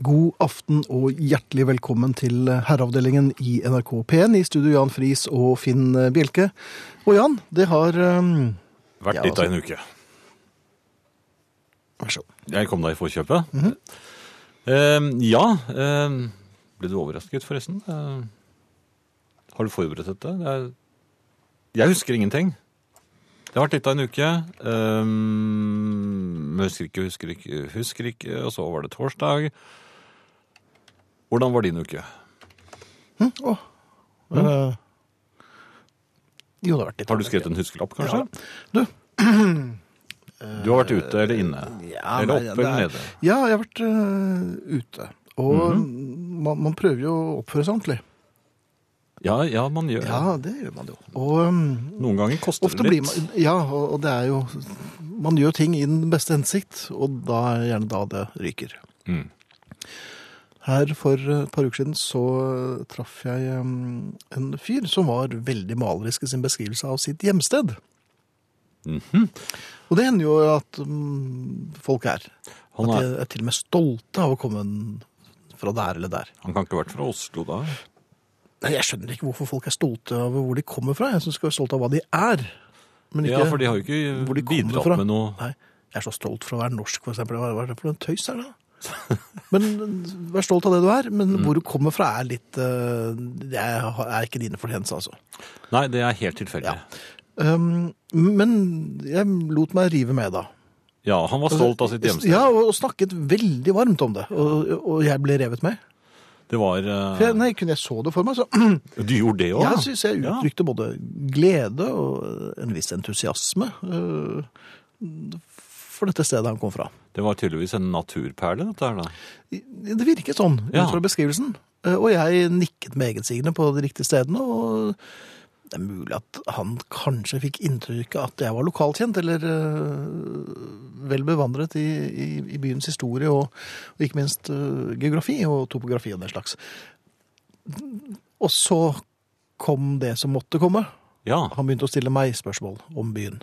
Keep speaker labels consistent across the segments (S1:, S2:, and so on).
S1: God aften og hjertelig velkommen til eh, Herreavdelingen i NRK P1. I studio Jan Friis og Finn eh, Bjelke. Og Jan, det har um,
S2: Vært
S1: Ja,
S2: litt
S1: altså.
S2: av en uke.
S1: Vær så god.
S2: Jeg kom deg i forkjøpet. Eh, ja. eh, ble du overrasket, forresten? Eh, har du forberedt dette? Det er- Jeg husker ingenting. Det har vært litt av en uke. eh, men husker ikke, husker ikke, husker ikke. Og så var det torsdag. Hvordan var din uke?
S1: Hm? Åh. Eh, jo, det har vært litt
S2: Har du skrevet en huskelapp, kanskje?
S1: Ja. eh,
S2: Du har vært ute eller inne?
S1: Ja,
S2: eller
S1: nei,
S2: oppe eller
S1: det er-
S2: nede?
S1: Ja, jeg har vært eh, ute. Og
S2: Mhm.
S1: man, man prøver jo å oppføre seg ordentlig.
S2: Ja, ja, man gjør
S1: Ja, det gjør man jo. Og um,
S2: Noen ganger koster
S1: ofte
S2: det
S1: blir
S2: litt.
S1: man Ja, og, og det er jo Man gjør ting i den beste hensikt, og da er det gjerne da det ryker.
S2: Mm.
S1: Her for et par uker siden så traff jeg um, en fyr som var veldig malerisk i sin beskrivelse av sitt hjemsted.
S2: Mhm.
S1: Og det hender jo at um, folk er.
S2: Han
S1: at
S2: er-
S1: de er til og med stolte av å komme en- fra der eller der.
S2: Han kan ikke ha vært fra Oslo da?
S1: Nei, Jeg skjønner ikke hvorfor folk er stolte av hvor de kommer fra. Jeg synes de skal være stolte av hva de er. Men ikke
S2: ja, for de har jo ikke
S1: hvor de kommer
S2: bidratt
S1: fra.
S2: med noe
S1: Nei, jeg er så stolt for å være norsk, for eksempel. Hva hva er det for en tøys er det? Men vær stolt av det du er,
S2: Mm.
S1: men hvor du kommer fra er litt eh, Det er er ikke dine fortjenester, altså.
S2: Nei, det er helt tilfeldig. Ja.
S1: Um, men jeg lot meg rive med, da.
S2: han
S1: Altså,
S2: var stolt av sitt hjemsted.
S1: Ja, og, og snakket veldig varmt om det. Og, og jeg ble revet med.
S2: Det var eh,
S1: For jeg, nei, kunne jeg så det for meg, så
S2: Du gjorde det òg?
S1: jeg synes jeg uttrykte både glede og en viss entusiasme eh, for dette stedet han kom fra.
S2: Det var tydeligvis en naturperle, dette her, da.
S1: Det virket sånn
S2: Ja.
S1: ut fra beskrivelsen. Eh, Og jeg nikket med egensigende på de riktige stedene, og det er mulig at han kanskje fikk inntrykk av at jeg var lokalkjent, eller eh, vel bevandret i, i, i byens historie, og, og ikke minst eh, geografi og topografi og den slags. Og så kom det som måtte komme.
S2: Ja,
S1: Han begynte å stille meg spørsmål om byen.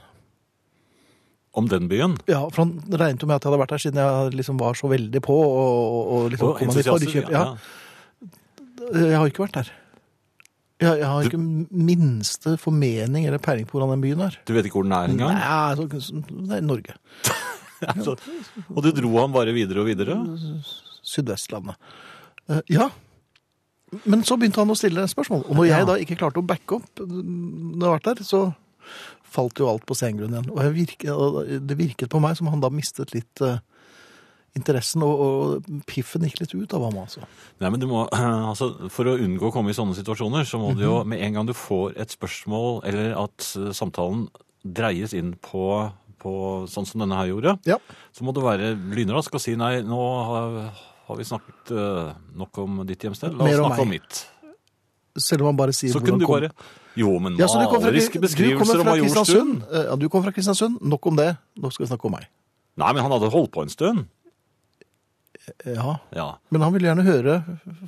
S2: Om den byen.
S1: Ja, for han regnet jo med at jeg hadde vært her siden jeg liksom var så veldig på, og, og, og liksom
S2: Og
S1: kom han i
S2: entusiastisk,
S1: forkjøp. Ja. Eh, Jeg har ikke vært der. Jeg, jeg har
S2: Du-
S1: ikke minste formening eller peiling på hvordan den byen er.
S2: Du vet ikke hvor den er
S1: Nei,
S2: engang?
S1: altså, det er Norge.
S2: Altså, og du dro han bare videre og videre?
S1: Sydvestlandet. Eh, ja. Men så begynte han å stille spørsmål. Og når jeg da ikke klarte å backe opp eh, når jeg har vært der, så falt jo alt på stengrunn igjen. Og jeg virket, og det virket på meg som han da mistet litt eh, interessen, og, og piffen gikk litt ut av ham, altså.
S2: Nei, men du må, altså, For å unngå å komme i sånne situasjoner, så må du jo
S1: Mhm.
S2: med en gang du får et spørsmål, eller at eh, samtalen dreies inn på, på sånn som denne her gjorde,
S1: Ja.
S2: så må du være lynrask og si nei, nå har, har vi snakket eh, nok om ditt hjemsted, la oss
S1: Mer om
S2: snakke om
S1: meg.
S2: mitt.
S1: Selv om han bare sier
S2: Så
S1: hvor
S2: kunne
S1: han
S2: du
S1: kom
S2: bare Jo, men
S1: Ja, så du kom fra,
S2: maleriske
S1: du kommer
S2: beskrivelser om
S1: fra
S2: Majorstuen
S1: Kristiansund. Eh, Ja, du kom fra Kristiansund. Nok om det. Nå skal vi snakke om meg.
S2: Nei, men han hadde holdt på en stund.
S1: Ja,
S2: Ja.
S1: Men han ville gjerne høre,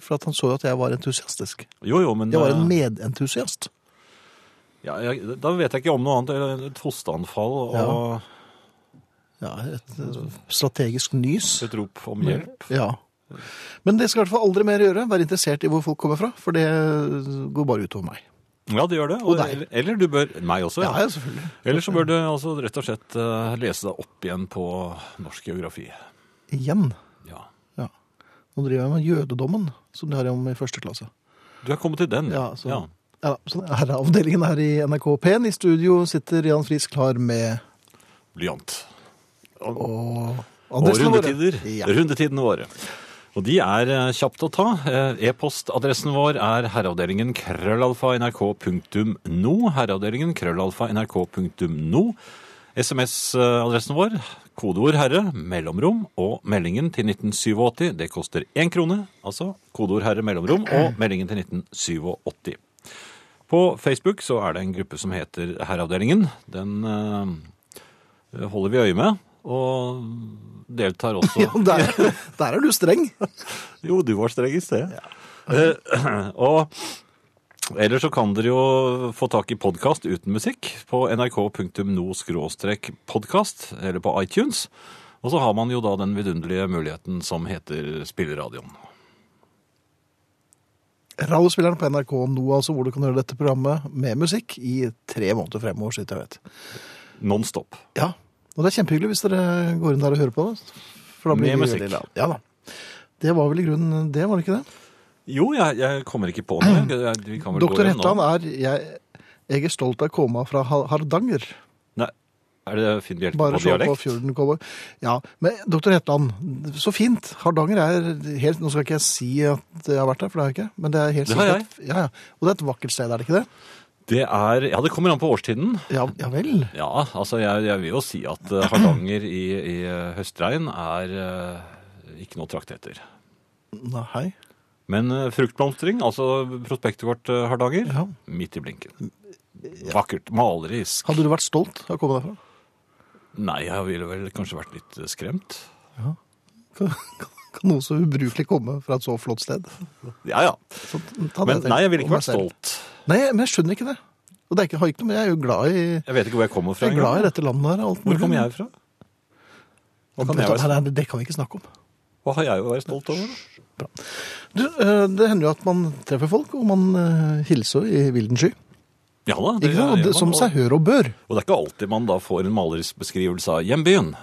S1: for at han så jo at jeg var entusiastisk.
S2: Jo, jo, men
S1: Jeg var
S2: eh,
S1: en medentusiast.
S2: ja, jeg, Da vet jeg ikke om noe annet enn et hosteanfall og
S1: Ja. Ja, Et eh, strategisk nys.
S2: et rop om hjelp.
S1: Ja. Men det skal i hvert fall aldri mer gjøre. Være interessert i hvor folk kommer fra, for det eh, går bare utover meg.
S2: Ja, det gjør det. Og,
S1: Mm. Og deg.
S2: eller du bør Meg også,
S1: Ja,
S2: ja.
S1: ja, selvfølgelig.
S2: Eller så bør du altså rett og slett eh, lese deg opp igjen på norsk geografi.
S1: Igjen.
S2: Ja.
S1: Ja. Nå driver jeg med jødedommen, som de har om i første klasse.
S2: Du er kommet til den.
S1: Ja, så, ja. så det er avdelingen her i NRK P1. I studio sitter Jan Friis klar med
S2: Blyant.
S1: og
S2: Og
S1: adressene våre.
S2: rundetider.
S1: Ja.
S2: Rundetidene våre. Og de er eh, kjapt å ta. Eh, E-postadressen vår er herreavdelingen krøllalfa nrk.no. Herreavdelingen krøllalfa nrk.no. SMS-adressen vår, kodeord 'herre', mellomrom og meldingen til 1987. Det koster én krone. Altså kodeord 'herre', mellomrom og meldingen til 1987. På Facebook så er det en gruppe som heter Herreavdelingen. Den eh, holder vi øye med, og deltar også
S1: Ja, der, der er du streng.
S2: Jo, du var streng i sted. Eh, og ellers så kan dere jo få tak i podkast uten musikk på nrk.no-podkast eller på iTunes. Og så har man jo da den vidunderlige muligheten som heter spilleradioen.
S1: Radiospilleren på NRK nå, altså, hvor du kan høre dette programmet med musikk i tre måneder fremover, så vidt jeg vet.
S2: Non stop.
S1: Ja, og det er kjempehyggelig hvis dere går inn der og hører på det. For da blir
S2: Med
S1: det veldig
S2: musikk.
S1: glad. Ja da. Det var vel i grunnen det, var det ikke det?
S2: Jo, jeg, jeg kommer ikke på noe. Jeg- Vi kan vel gå
S1: Doktor
S2: igjen nå.
S1: Hettan er jeg, jeg er stolt av å komme fra Ha- Hardanger.
S2: Nei, er det Finn Bjelke
S1: Bare
S2: på
S1: se på
S2: dialekt?
S1: fjorden cowboy. Ja, men Doktor Hettan, så fint. Hardanger er helt Nå skal ikke jeg si at jeg har vært der, for det har jeg ikke. Men det er helt
S2: Det har
S1: sikkert- Ja, ja. Og det er et vakkert sted, er det ikke det?
S2: Det er Ja, det kommer an på årstiden.
S1: Ja, ja vel.
S2: Ja, altså jeg, jeg vil jo si at eh, Hardanger i, i eh, høstregn er eh, ikke noe å trakte etter.
S1: Nei.
S2: Men eh, fruktblomstring, altså prospektet vårt eh, Hardanger,
S1: Ja.
S2: midt i blinken. Vakkert, malerisk.
S1: Hadde du vært stolt av å komme derfra?
S2: Nei, jeg ville vel kanskje vært litt eh, skremt.
S1: Kan, kan, kan noe så ubrukelig komme fra et så flott sted?
S2: Ja, ja.
S1: Så ta det
S2: Men
S1: selv,
S2: nei, jeg ville
S1: om
S2: ikke
S1: meg
S2: vært
S1: selv.
S2: stolt.
S1: Nei, men jeg skjønner ikke det. Og det er ikke, har ikke noe, men jeg er jo glad i,
S2: Jeg vet ikke hvor jeg kommer fra.
S1: jeg er glad i
S2: engang.
S1: dette landet her. Alt
S2: Hvor kommer jeg fra? Hva
S1: Om,
S2: kan jeg
S1: dette-
S2: være stolt?
S1: nei, nei, det kan vi ikke snakke om.
S2: Hva har jeg å være stolt over? da?
S1: Du, eh, det hender jo at man treffer folk, og man eh, hilser jo i vilden sky.
S2: Ja da, det
S1: Ikke sant? Og
S2: gjør
S1: det,
S2: man,
S1: som
S2: og-
S1: seg hør og bør.
S2: Og det er ikke alltid man da får en malerisk beskrivelse av hjembyen.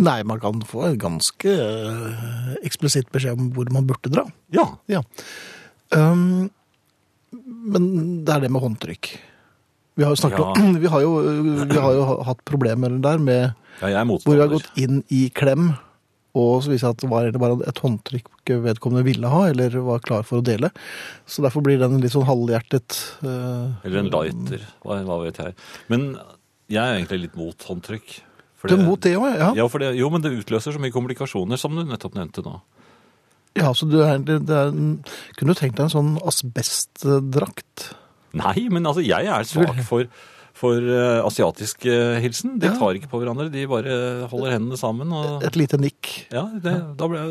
S1: Nei, man kan få en ganske eh, eksplisitt beskjed om hvor man burde dra.
S2: Ja,
S1: Ja. Um, men det er det med håndtrykk. Vi har jo, snakket,
S2: Ja.
S1: om- vi har jo, vi har jo hatt problemer der med
S2: ja jeg er
S1: hvor vi har
S2: motstander.
S1: gått inn i klem, og så viser det seg at det var egentlig bare et håndtrykk vedkommende ville ha, eller var klar for å dele. Så derfor blir den litt sånn halvhjertet eh,
S2: Eller en lighter, hva, hva vet jeg. Men jeg er egentlig litt mot håndtrykk. For
S1: Du er mot det òg, ja?
S2: Ja, for det, jo, men det utløser så mye komplikasjoner, som du nettopp nevnte nå.
S1: ja? Så du er, egentlig- det er, en- kunne du tenkt deg en sånn asbestdrakt?
S2: Nei, men altså, jeg er svak for, for eh, asiatisk eh, hilsen. De
S1: Ja.
S2: tar ikke på hverandre, de bare holder hendene sammen. Og,
S1: Et lite nikk?
S2: ja, det, da ble,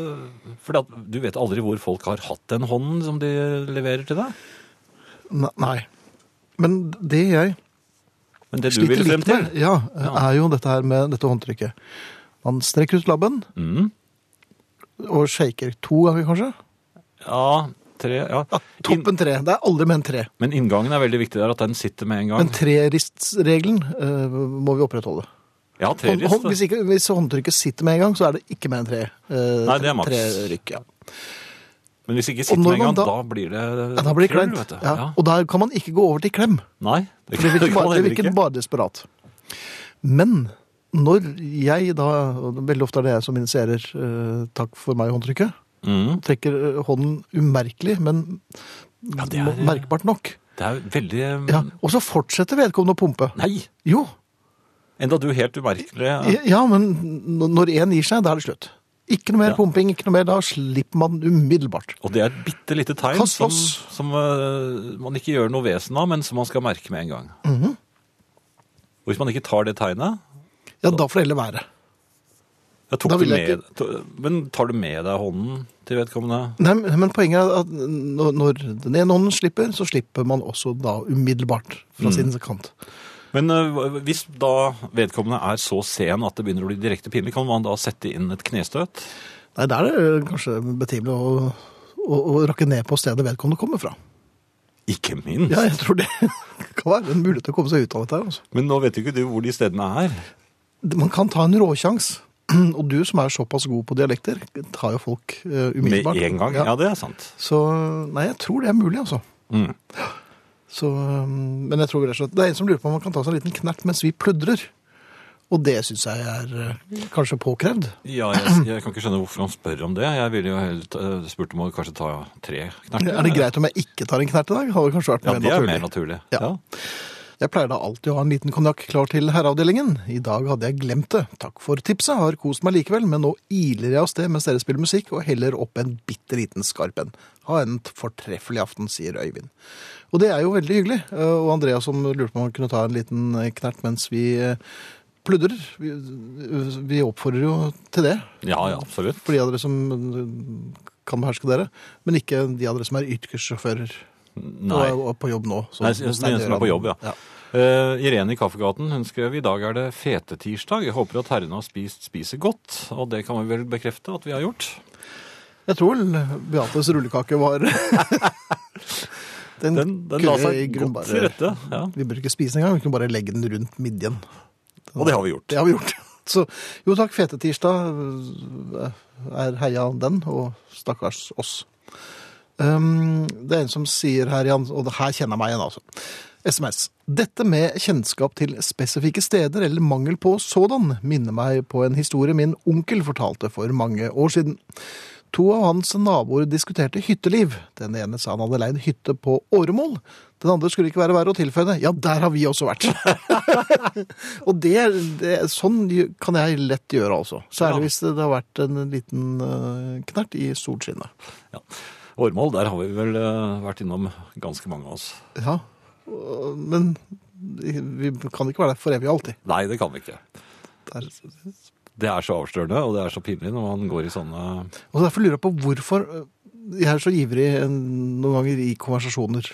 S2: for at, du vet aldri hvor folk har hatt den hånden som de leverer til deg.
S1: Ne- Nei. Men det jeg
S2: Men det du
S1: sliter
S2: vil frem
S1: litt
S2: til
S1: med, ja,
S2: Ja.
S1: er jo dette her med dette håndtrykket. Man strekker ut labben
S2: mm,
S1: og shaker to ganger, kanskje.
S2: Ja, tre ja.
S1: Ja, toppen tre. Det er aldri med en tre.
S2: Men inngangen er veldig viktig der, at den sitter med en gang.
S1: Men treristregelen eh, må vi opprettholde.
S2: ja, tre
S1: Hånd- hånd-
S2: rist.
S1: hvis, ikke, hvis håndtrykket sitter med en gang, så er det ikke mer enn tre. eh,
S2: Nei, det er maks.
S1: Trerykk, ja.
S2: Men hvis ikke
S1: Og
S2: sitter
S1: når
S2: med en gang,
S1: man
S2: da,
S1: da-
S2: blir det
S1: ja, da blir det
S2: krøll,
S1: kleint.
S2: vet du.
S1: Ja.
S2: Ja.
S1: Og der kan man ikke gå over til klem.
S2: Nei, det
S1: For det
S2: det
S1: virker
S2: kan man
S1: bare, det
S2: heller
S1: virker bare desperat. Men når jeg da, og veldig ofte er det jeg som initierer eh, 'takk for meg'-håndtrykket,
S2: Mhm.
S1: trekker eh, hånden umerkelig, men
S2: det er-
S1: mer- merkbart nok.
S2: Det er veldig um,
S1: Ja, og så fortsetter vedkommende å pumpe.
S2: Nei!
S1: Jo,
S2: Enda du helt umerkelig
S1: ja, ja men n- når én gir seg, da er det slutt. Ikke noe mer
S2: Ja.
S1: pumping, ikke noe mer, da slipper man umiddelbart.
S2: Og det er et bitte lite tegn
S1: Kast
S2: som,
S1: oss.
S2: som eh, man ikke gjør noe vesen av, men som man skal merke med en gang.
S1: Mhm.
S2: Og hvis man ikke tar det tegnet
S1: Ja, da får det heller være.
S2: ja, tok
S1: Da
S2: du
S1: vil jeg
S2: med, to- Men tar du med deg hånden til vedkommende?
S1: Nei, men men poenget er at når- når den ene hånden slipper, så slipper man også da umiddelbart
S2: Mm.
S1: fra sin kant.
S2: Men eh, hvis da vedkommende er så sen at det begynner å bli direkte pinlig, kan man da sette inn et knestøt?
S1: Nei, der er det kanskje betimelig å, å, å rakke ned på stedet vedkommende kommer fra.
S2: Ikke minst!
S1: Ja, jeg tror det kan være en mulighet til å komme seg ut av dette her, altså.
S2: Men nå vet jo ikke du hvor de stedene er.
S1: Man kan ta en råsjans, og du som er såpass god på dialekter, tar jo folk eh,
S2: Med
S1: umiddelbart.
S2: en gang? Ja, det er sant.
S1: Så nei, jeg tror det er mulig, altså.
S2: Mm.
S1: Så, um, men jeg tror rett og slett, det er en som lurer på om man kan ta seg en liten knert mens vi pludrer. Og det syns jeg er eh, kanskje påkrevd.
S2: Ja, jeg, jeg kan ikke skjønne hvorfor han spør om det. Jeg ville jo helt, eh, spurt om å kanskje ta tre knerter.
S1: Er det greit om jeg ikke tar en knert i dag? Hadde kanskje vært
S2: Ja,
S1: mer
S2: det er
S1: naturlig.
S2: mer naturlig.
S1: Ja.
S2: Ja.
S1: Jeg pleier da alltid å ha en liten konjakk klar til herreavdelingen. I dag hadde jeg glemt det. Takk for tipset, har kost meg likevel, men nå iler jeg av sted mens dere spiller musikk, og heller opp en bitte liten skarp en. Ha en fortreffelig aften, sier Øyvind. Og det er jo veldig hyggelig. Eh, Og Andreas som lurte på om han kunne ta en liten eh, knert mens vi eh, pludrer. Vi, eh, vi oppfordrer jo til det,
S2: ja, ja, absolutt.
S1: for de av dere som eh, kan beherske dere, men ikke de av dere som er yrkessjåfører
S2: Nei.
S1: og er på jobb nå. som
S2: Nei, så- så
S1: Stein
S2: de som er på
S1: Gjøran.
S2: jobb, ja.
S1: ja.
S2: Eh, Irene i Kaffegaten hun skrev i dag er det fetetirsdag. Jeg håper at herrene har spist spiser godt. Og det kan vi vel bekrefte at vi har gjort.
S1: Jeg tror vel Beates rullekake var Den,
S2: Den, den la
S1: i
S2: seg
S1: grunnen
S2: godt til rette. Ja.
S1: Vi bør ikke spise den engang, vi kunne bare legge den rundt midjen.
S2: Og det har vi gjort.
S1: Det har vi gjort. Så jo takk, fetetirsdag eh, er heia den, og stakkars oss. Um, det er en som sier her, Jan, og det her kjenner jeg meg igjen, altså. SMS. Dette med kjennskap til spesifikke steder, eller mangel på sådan, minner meg på en historie min onkel fortalte for mange år siden. To av hans naboer diskuterte hytteliv. Den ene sa han hadde leid hytte på Åremål. Den andre skulle ikke være verre å tilføye. Ja, der har vi også vært. Og det, det, sånn gjø- kan jeg lett gjøre, altså.
S2: Ja.
S1: Særlig hvis det, det har vært en liten eh, knert i solskinnet.
S2: Ja. Årmål, der har vi vel eh, vært innom ganske mange av oss.
S1: Ja, og- men vi kan ikke være der for evig og alltid.
S2: Nei, det kan vi ikke.
S1: Der.
S2: Det er så avslørende, og det er så pinlig når man går i sånne
S1: Og derfor lurer jeg på hvorfor eh, jeg er så ivrig eh, noen ganger i konversasjoner.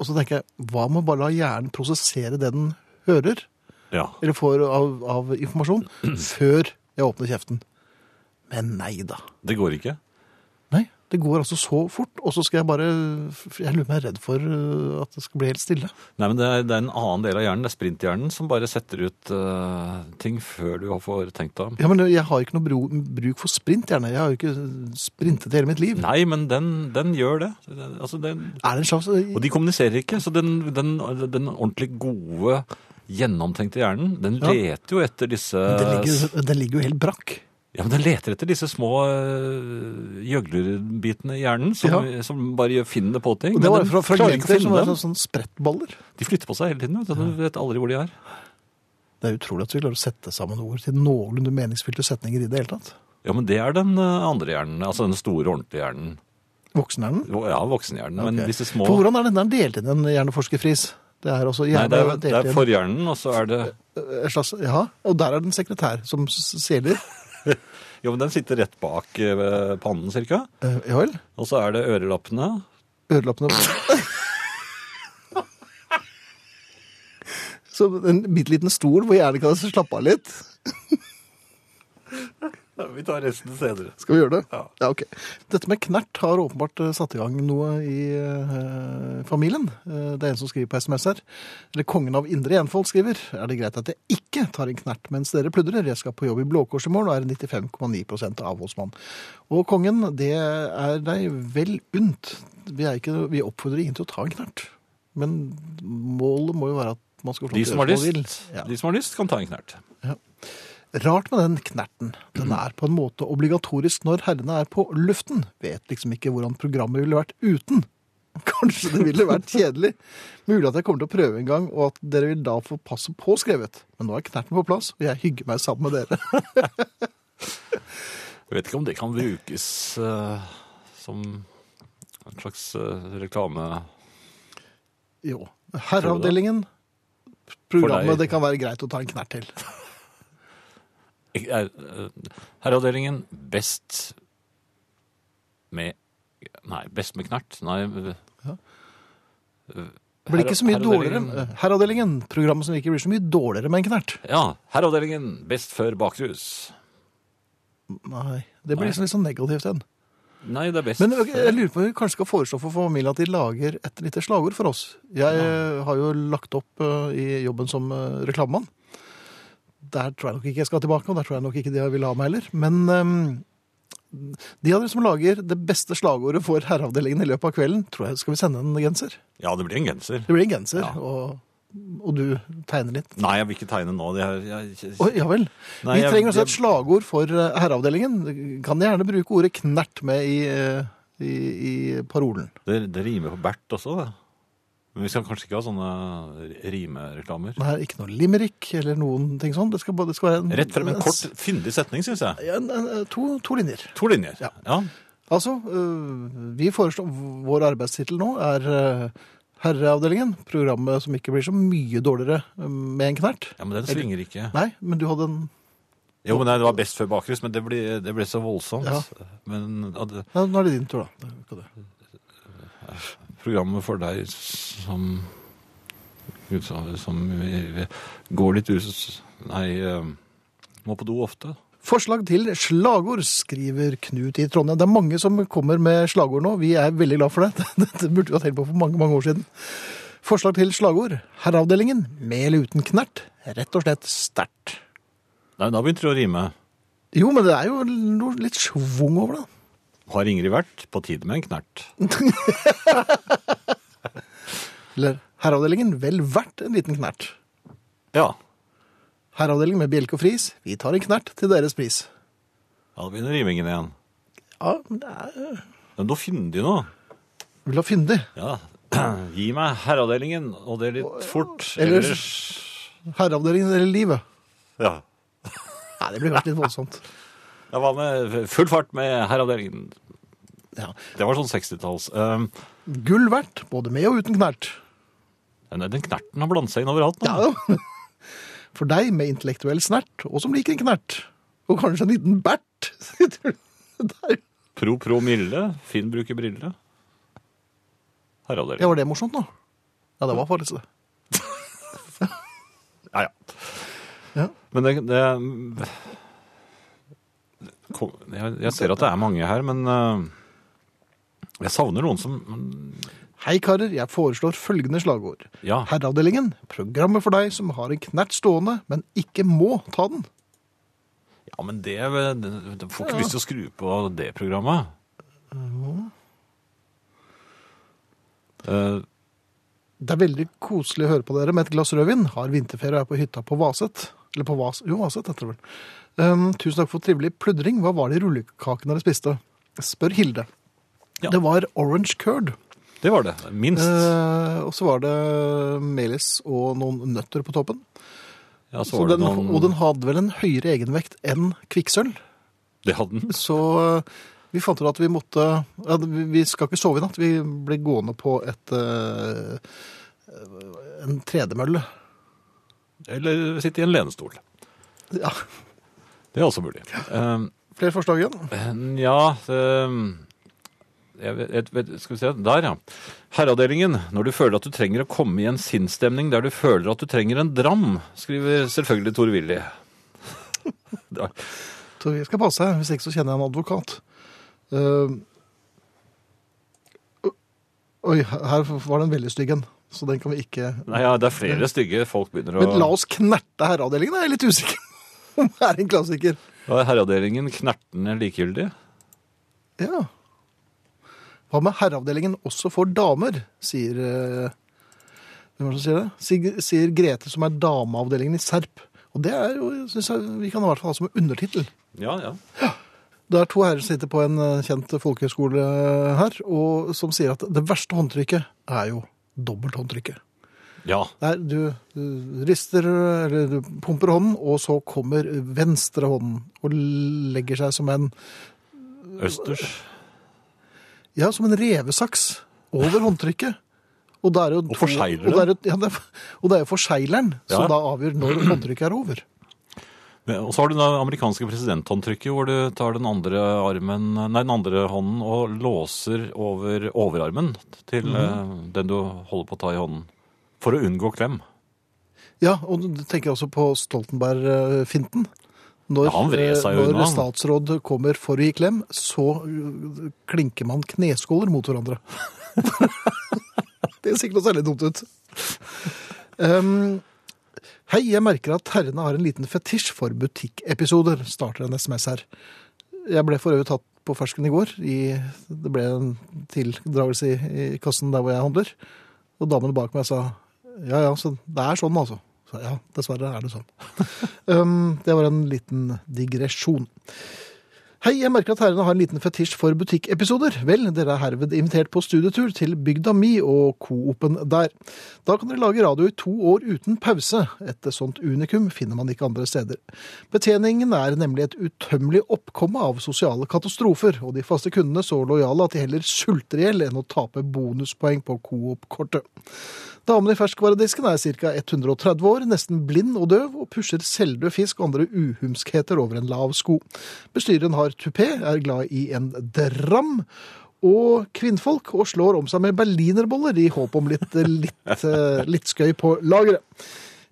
S1: Og så tenker jeg, hva med å bare la hjernen prosessere det den hører,
S2: Ja.
S1: eller får av, av informasjon, før jeg åpner kjeften? Men nei da.
S2: Det går ikke.
S1: Nei, det går altså så fort, og så skal jeg bare Jeg lurer meg jeg er redd for øh, at det skal bli helt stille.
S2: Nei, men det er, det er en annen del av hjernen, det er sprinthjernen, som bare setter ut eh, ting før du har får tenkt deg om.
S1: Ja, men jeg har ikke noe bro, bruk for sprint, gjerne. Jeg har jo ikke sprintet hele mitt liv.
S2: Nei, men den, den gjør det. Altså, den,
S1: Er det en slags
S2: og de kommuniserer ikke, så den, den, den ordentlig gode, gjennomtenkte hjernen, den
S1: Ja.
S2: leter jo etter disse
S1: den, ligger, den ligger jo helt brakk.
S2: Ja, men den leter etter disse små øh, gjøglerbitene i hjernen, som, som bare gjør- finner på ting.
S1: Og det
S2: men
S1: var
S2: den
S1: fra
S2: klarer ikke å
S1: fragmenter som
S2: finne
S1: var
S2: dem.
S1: sånn, sånn sprettballer.
S2: De flytter på seg hele tiden, vet du. Du vet aldri hvor de er.
S1: Det er utrolig at vi klarer å sette sammen ord til noenlunde meningsfylte setninger i det hele tatt.
S2: Ja, men det er den øh, andre hjernen, altså den store, ordentlige hjernen.
S1: Voksenhjernen.
S2: Vo- Ja, voksenhjernen, men
S1: Ok.
S2: disse små...
S1: For hvordan er den der delt inn i en hjerneforskerfris? Det er altså
S2: Nei,
S1: hjerne,
S2: det er, det
S1: delt
S2: er
S1: inn-
S2: forhjernen, og så er det...
S1: en slags, Ja, og der er det en sekretær som s- seler.
S2: Jo, men den sitter rett bak øh, ved pannen, cirka.
S1: Eh, Ja vel?
S2: Og så er det ørelappene.
S1: Ørelappene Så en bitte liten stol hvor hjernen kan slappe av litt.
S2: vi tar resten senere.
S1: Skal vi gjøre det?
S2: Ja.
S1: ok. Dette med knert har åpenbart eh, satt i gang noe i eh, familien. Eh, det er en som skriver på SMS her. Eller kongen av indre enfold skriver. Er det greit at jeg ikke tar en knert mens dere pludrer? Jeg skal på jobb i Blå Kors i morgen og er 95,9 avholdsmann. Og kongen, det er deg vel unt. Vi, er ikke, vi oppfordrer ingen til å ta en knert. Men målet må jo være at man skal få
S2: De
S1: lov til
S2: som
S1: å
S2: har
S1: gjøre som man
S2: lyst,
S1: vil. Ja.
S2: de som har lyst kan ta en knert.
S1: Rart med den knerten. Den er på en måte obligatorisk når herrene er på luften. Vet liksom ikke hvordan programmet ville vært uten. Kanskje det ville vært kjedelig. Mulig at jeg kommer til å prøve en gang, og at dere vil da få passet påskrevet. Men nå er knerten på plass, og jeg hygger meg sammen med dere.
S2: Jeg vet ikke om det kan brukes eh, som en slags eh, reklame.
S1: Jo. Herreavdelingen.
S2: For
S1: Programmet
S2: deg.
S1: det kan være greit å ta en knert til.
S2: Ik- er, eh, Herreavdelingen best med Nei, best med knert. Nei eh,
S1: Ja.
S2: eh,
S1: Det blir ikke så mye
S2: herre-
S1: dårligere. eh,
S2: herreavdelingen-
S1: Herreavdelingen. Programmet som ikke blir så mye dårligere med en knert.
S2: Ja. Herreavdelingen best før bakrus.
S1: Nei. Det blir
S2: Nei.
S1: liksom litt sånn negativt igjen.
S2: Nei, det er best
S1: Men ok, jeg lurer på om vi kanskje skal foreslå for familien at de lager et lite slagord for oss. Jeg eh, har jo lagt opp eh, i jobben som eh, reklamemann. Der tror jeg nok ikke jeg skal tilbake, og der tror jeg nok ikke de vil ha meg heller. Men eh, de av dere som lager det beste slagordet for herreavdelingen i løpet av kvelden, tror jeg skal vi sende en genser.
S2: Ja, det blir en genser.
S1: Det blir en genser,
S2: Ja.
S1: og, og du tegner litt.
S2: Nei, jeg vil ikke tegne nå. Det er, jeg,
S1: Å, ja vel.
S2: Nei,
S1: vi
S2: jeg-
S1: trenger også
S2: jeg-
S1: et slagord for eh, herreavdelingen. Kan gjerne bruke ordet knert med i, eh, i, i parolen.
S2: det, det rimer på bert også, det. Men vi skal kanskje ikke ha sånne rimereklamer.
S1: Det er ikke noe limerick eller noen ting sånn. Det skal, bare- det skal være en,
S2: Rett frem en kort, fyndig setning, syns jeg.
S1: Ja, en, en, to, to linjer.
S2: To linjer.
S1: Ja.
S2: ja.
S1: Altså, øh, vi foreslår Vår arbeidstittel nå er øh, Herreavdelingen. Programmet som ikke blir så mye dårligere øh, med en knert.
S2: Ja, men den svinger ikke.
S1: Nei, men du hadde en
S2: Jo, men nei, det var best før bakrus, men det ble, det ble så voldsomt.
S1: Ja.
S2: Men ja, det,
S1: ja, Nå er det din tur, da. Skal du-
S2: programmet for deg som Gud, så- som eh, går litt us... Nei, eh, må på do ofte.
S1: Forslag til slagord, skriver Knut i Trondheim. Det er mange som kommer med slagord nå. Vi er veldig glad for det. Dette burde vi ha tenkt på for mange, mange år siden. Forslag til slagord. Herreavdelingen, med eller uten knert. Rett og slett sterkt.
S2: Nei, da begynte det å rime.
S1: Jo, men det er jo noe litt schwung over det.
S2: Har Ingrid vært på tide med en knert?
S1: Eller herreavdelingen, vel verdt en liten knert.
S2: Ja.
S1: Herreavdelingen med bjelke og fris. Vi tar en knert til deres pris.
S2: Ja, Da begynner rimingen igjen.
S1: Ja, men det er
S2: Men da finner de noe.
S1: Vil du ha fyndig?
S2: Ja. Gi meg herreavdelingen, og det litt fort.
S1: Ellers-
S2: Ellers
S1: Herreavdelingen eller livet?
S2: Ja.
S1: Nei, det blir kanskje litt voldsomt.
S2: Ja, hva med full fart med herreavdelingen?
S1: Ja.
S2: Det var sånn 60-talls. Um,
S1: Gull verdt, både med og uten knert.
S2: den den knerten har blandet seg inn overalt nå.
S1: Ja, da. For deg med intellektuell snert, og som liker en knert. Og kanskje en liten bert. Der.
S2: Pro pro mille. Finn bruker briller.
S1: Ja,
S2: Herreavdelingen.
S1: var det morsomt nå? Ja, det var faktisk det.
S2: Ja, ja.
S1: Ja.
S2: Men det, det Kom- jeg, jeg ser at det er mange her, men eh, jeg savner noen som
S1: Hei karer, jeg foreslår følgende slagord.
S2: Ja.
S1: Herreavdelingen, programmet for deg som har en knert stående, men ikke må ta den.
S2: Ja, men det, det- det får ikke lyst til å skru på det programmet. Eh,
S1: Det er veldig koselig å høre på dere med et glass rødvin. Har vinterferie og er på hytta på Vaset. Eller på Vas... Jo, Vaset heter det vel. Um, tusen takk for trivelig pludring. Hva var det i rullekakene dere spiste? Spør Hilde.
S2: Ja.
S1: Det var orange curd.
S2: det var det. Minst.
S1: Eh, og så var det melis og noen nøtter på toppen.
S2: ja, så
S1: Så
S2: var det
S1: den,
S2: noen
S1: Og den hadde vel en høyere egenvekt enn kvikksølv.
S2: Det hadde den.
S1: Så eh, vi fant ut at vi måtte ja, Vi vi skal ikke sove i natt. Vi ble gående på et eh, en tredemølle.
S2: Eller sitte i en lenestol.
S1: Ja,
S2: Det er også mulig. Eh,
S1: flere forslag igjen.
S2: Ja det- jeg vet, jeg vet, Skal vi se. Der, ja. Herreavdelingen. Når du føler at du trenger å komme i en sinnsstemning der du føler at du trenger en dram, skriver selvfølgelig Tore Willy. Da-
S1: Så jeg skal passe, hvis ikke så kjenner jeg en advokat. Eh, oi, her var det en veldig stygg en, så den kan vi ikke
S2: Nei, ja, det er flere stygge folk begynner å
S1: Men la oss knerte herreavdelingen, da. jeg er litt usikker om det er en klassiker.
S2: Da er herreavdelingen knertende likegyldig.
S1: Ja. Hva med herreavdelingen også for damer, sier eh, Hvem er det som sier det? Sier, sier Grete, som er dameavdelingen i Serp. Og det er jo, synes jeg, vi kan i hvert fall ha som undertittel.
S2: Ja, ja.
S1: Det er to herrer som sitter på en eh, kjent folkehøyskole eh, her, og som sier at det verste håndtrykket er jo dobbelthåndtrykket.
S2: Ja,
S1: Der du eh, rister, eller du pumper hånden, og så kommer venstre hånden og legger seg som en Eh,
S2: Østers.
S1: Ja, som en revesaks over håndtrykket. Og, da er det jo
S2: Og
S1: to-
S2: forsegler
S1: og det er jo- ja, det er- Og det er jo forsegleren som
S2: Ja.
S1: da avgjør når håndtrykket er over.
S2: Men- Og så har du det amerikanske presidenthåndtrykket, hvor du tar den andre, armen, nei, den andre hånden og låser over overarmen til
S1: Mhm.
S2: eh, den du holder på å ta i hånden. For å unngå klem.
S1: Ja, og du tenker også på Stoltenberg-finten. Når,
S2: Ja, han vred seg jo
S1: eh,
S2: unna,
S1: når
S2: han.
S1: statsråd kommer for å gi klem, så eh, klinker man kneskåler mot hverandre. det ser ikke noe særlig dumt ut. Um, hei, jeg merker at herrene har en liten fetisj for butikkepisoder, starter en SMS her. Jeg ble for øvrig tatt på fersken i går. I, det ble en tildragelse i, i kassen der hvor jeg handler. Og damen bak meg sa ja, ja, så det er sånn, altså. Så ja, dessverre er det sånn. um, det var en liten digresjon. Hei, jeg merker at herrene har en liten fetisj for butikkepisoder. Vel, dere er herved invitert på studietur til bygda mi og Coopen der. Da kan dere lage radio i to år uten pause. Et sånt unikum finner man ikke andre steder. Betjeningen er nemlig et utømmelig oppkomme av sosiale katastrofer, og de faste kundene så lojale at de heller sulter i hjel enn å tape bonuspoeng på Coop-kortet. Damen i ferskvaredisken er ca. 130 år, nesten blind og døv, og pusher selvdød fisk og andre uhumskheter over en lav sko. Bestyreren har tupé, er glad i en dram, og kvinnfolk, og slår om seg med berlinerboller i håp om litt, litt, eh, litt skøy på lageret.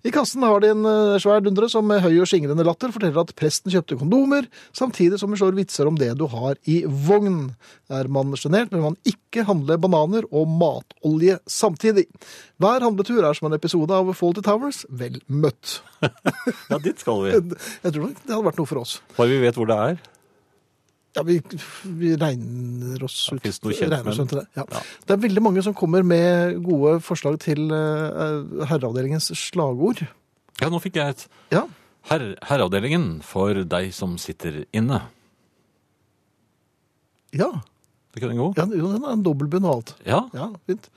S1: I kassen har de en eh, svær dundre som med høy og skingrende latter forteller at presten kjøpte kondomer, samtidig som hun slår vitser om det du har i vogn. Er man sjenert, bør man ikke handle bananer og matolje samtidig. Hver handletur er som en episode av Fawlty Towers. Vel møtt.
S2: Ja, dit skal vi.
S1: Jeg tror nok det hadde vært noe for oss.
S2: Bare vi vet hvor det er.
S1: Ja, vi, vi regner oss ut.
S2: finnes noe kjent,
S1: regner oss
S2: men-
S1: ut til det. Ja.
S2: Ja.
S1: det er veldig mange som kommer med gode forslag til eh, herreavdelingens slagord.
S2: Ja, nå fikk jeg et
S1: Ja,
S2: her herreavdelingen for deg som sitter inne.
S1: ja.
S2: Det kunne gå.
S1: ja jo, den er en dobbeltbunn og alt.
S2: Ja,
S1: Ja, fint.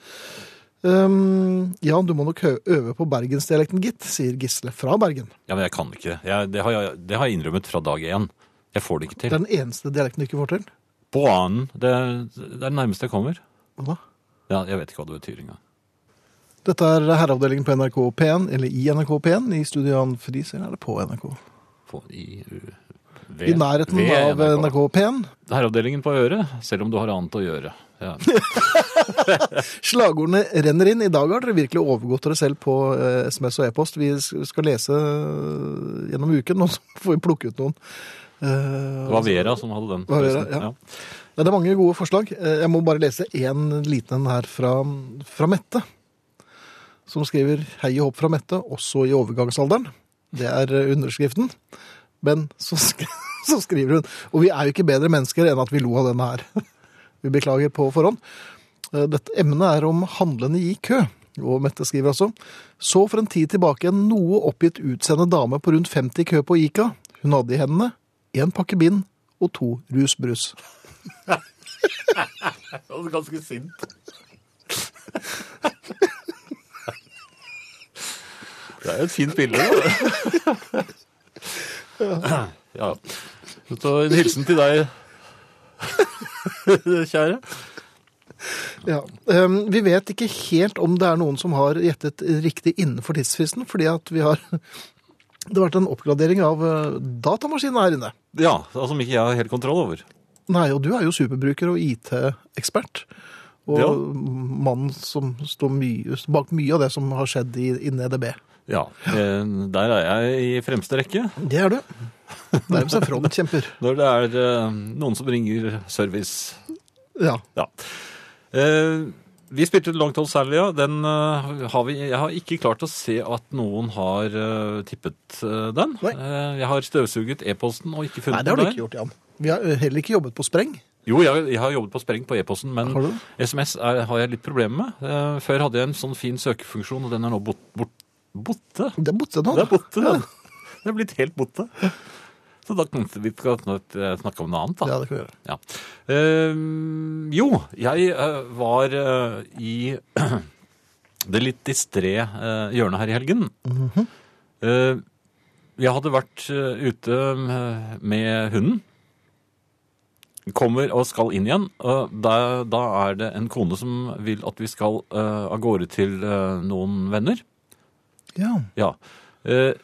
S1: Ehm, ja, du må nok hø- øve på bergensdialekten, gitt, sier Gisle fra Bergen.
S2: ja men jeg kan ikke det. Jeg, det, har jeg, det har jeg innrømmet fra dag én. Jeg får det ikke
S1: Det er
S2: til.
S1: den eneste dialekten du ikke får til.
S2: På annen, det, det er det nærmeste jeg kommer.
S1: Hva da?
S2: Ja, jeg vet ikke hva det betyr engang.
S1: Dette er herreavdelingen på NRK P1, eller i NRK P1, i studio Jan Friis, eller er det på NRK?
S2: På, i, u,
S1: I nærheten av NRK P1.
S2: Herreavdelingen på øret, selv om du har annet å gjøre. Ja.
S1: Slagordene renner inn. I dag har dere virkelig overgått dere selv på eh, SMS og e-post. Vi s- skal lese eh, gjennom uken, og så får vi plukke ut noen. Eh,
S2: Det var Vera som hadde den.
S1: Det var Vera,
S2: forresten.
S1: ja. Det er mange gode forslag. Eh, Jeg må bare lese én liten en her fra, fra Mette. Som skriver 'Hei og hopp fra Mette, også i overgangsalderen'. Det er eh, underskriften. Men så, sk så skriver hun Og vi er jo ikke bedre mennesker enn at vi lo av denne her. Vi beklager på forhånd. Eh, Dette emnet er om handlende i kø. Og Mette skriver altså Så for en tid tilbake en noe oppgitt utseende dame på rundt 50 i kø på Ica. Hun hadde i hendene én pakke bind og to rusbrus.
S2: Ganske sint. Det er jo et fint bilde, da. Ja. Så en hilsen til deg, kjære.
S1: Ja. ehm, Vi vet ikke helt om det er noen som har gjettet riktig innenfor tidsfristen, fordi at vi har Det har vært en oppgradering av eh, datamaskinen her inne.
S2: Ja, altså, som ikke jeg har helt kontroll over.
S1: Nei, og du er jo superbruker og IT-ekspert. Og
S2: Ja.
S1: mannen som står mye, bak mye av det som har skjedd i, E i NDB.
S2: Ja, eh, Der er jeg i fremste rekke.
S1: Det er du. Nærmest en frontkjemper.
S2: Når det er eh, noen som ringer service
S1: Ja.
S2: Ja. Eh, vi spilte ut Long Tall Sally, ja. Den eh, har vi Jeg har ikke klart å se at noen har eh, tippet eh, den.
S1: Nei.
S2: Eh, jeg har støvsuget e-posten og ikke
S1: Nei,
S2: funnet
S1: det har du
S2: den der.
S1: ikke gjort, Jan. Vi har eh, heller ikke jobbet på spreng.
S2: Jo, jeg, jeg har jobbet på spreng på e-posten, men
S1: Har du?
S2: SMS er, har jeg litt problemer med. Eh, før hadde jeg en sånn fin søkefunksjon, og den er nå bort, bort, borte.
S1: Det er borte nå.
S2: Den er borte, den. Den er blitt helt borte. Så da kan vi ikke snakke om noe annet, da.
S1: Ja, det kan vi gjøre.
S2: Ja. Ehm, jo, jeg eh, var eh, i det litt distré eh, hjørnet her i helgen. Eh, jeg hadde vært eh, ute eh, med hunden. Kommer og skal inn igjen. og da, da er det en kone som vil at vi skal eh, av gårde til eh, noen venner.
S1: Ja.
S2: Ja. Eh,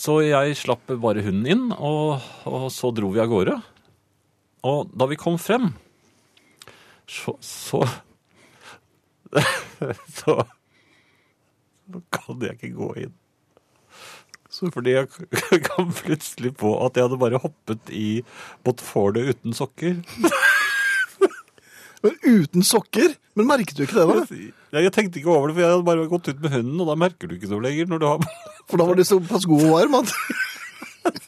S2: Så jeg slapp bare hunden inn, og, og så dro vi av gårde. Og da vi kom frem, så Så, så, så kan jeg ikke gå inn.
S1: Så-
S2: Fordi jeg kom plutselig på at jeg hadde bare hoppet i Botfordet uten sokker.
S1: Men uten sokker? Men merket du ikke det, da?
S2: Jeg, jeg tenkte ikke over det, for jeg hadde bare gått ut med hunden, og da merker du ikke noe lenger. når du har...
S1: For da var du såpass god og varm at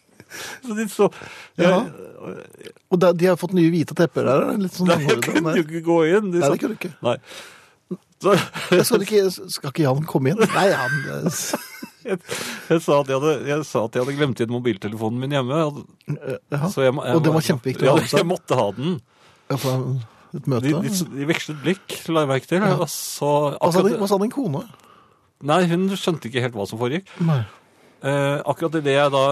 S2: Så de så,
S1: Ja.
S2: jeg,
S1: Og da- de har fått nye hvite tepper der? da? Litt sånn
S2: Nei, jeg
S1: langhårete.
S2: kunne
S1: Nei.
S2: jo ikke gå inn. De
S1: Nei,
S2: sa-
S1: det kunne du ikke.
S2: Nei. Så
S1: Jeg skal, ikke. skal ikke Jan komme inn? Nei, han eh,
S2: jeg, jeg, sa at jeg, hadde, jeg sa at jeg hadde glemt igjen mobiltelefonen min hjemme. og-
S1: ja.
S2: Så jeg, må- jeg,
S1: Og det
S2: må-
S1: var kjempeviktig å
S2: Ja,
S1: ha med
S2: jeg
S1: seg.
S2: måtte ha den.
S1: Ja, for Et møte.
S2: De, de, de vekslet blikk, la jeg merke til. Og så
S1: Hva sa din-
S2: akkurat,
S1: Hva sa din kone?
S2: nei, hun skjønte ikke helt hva som foregikk.
S1: Nei.
S2: Eh, akkurat idet jeg da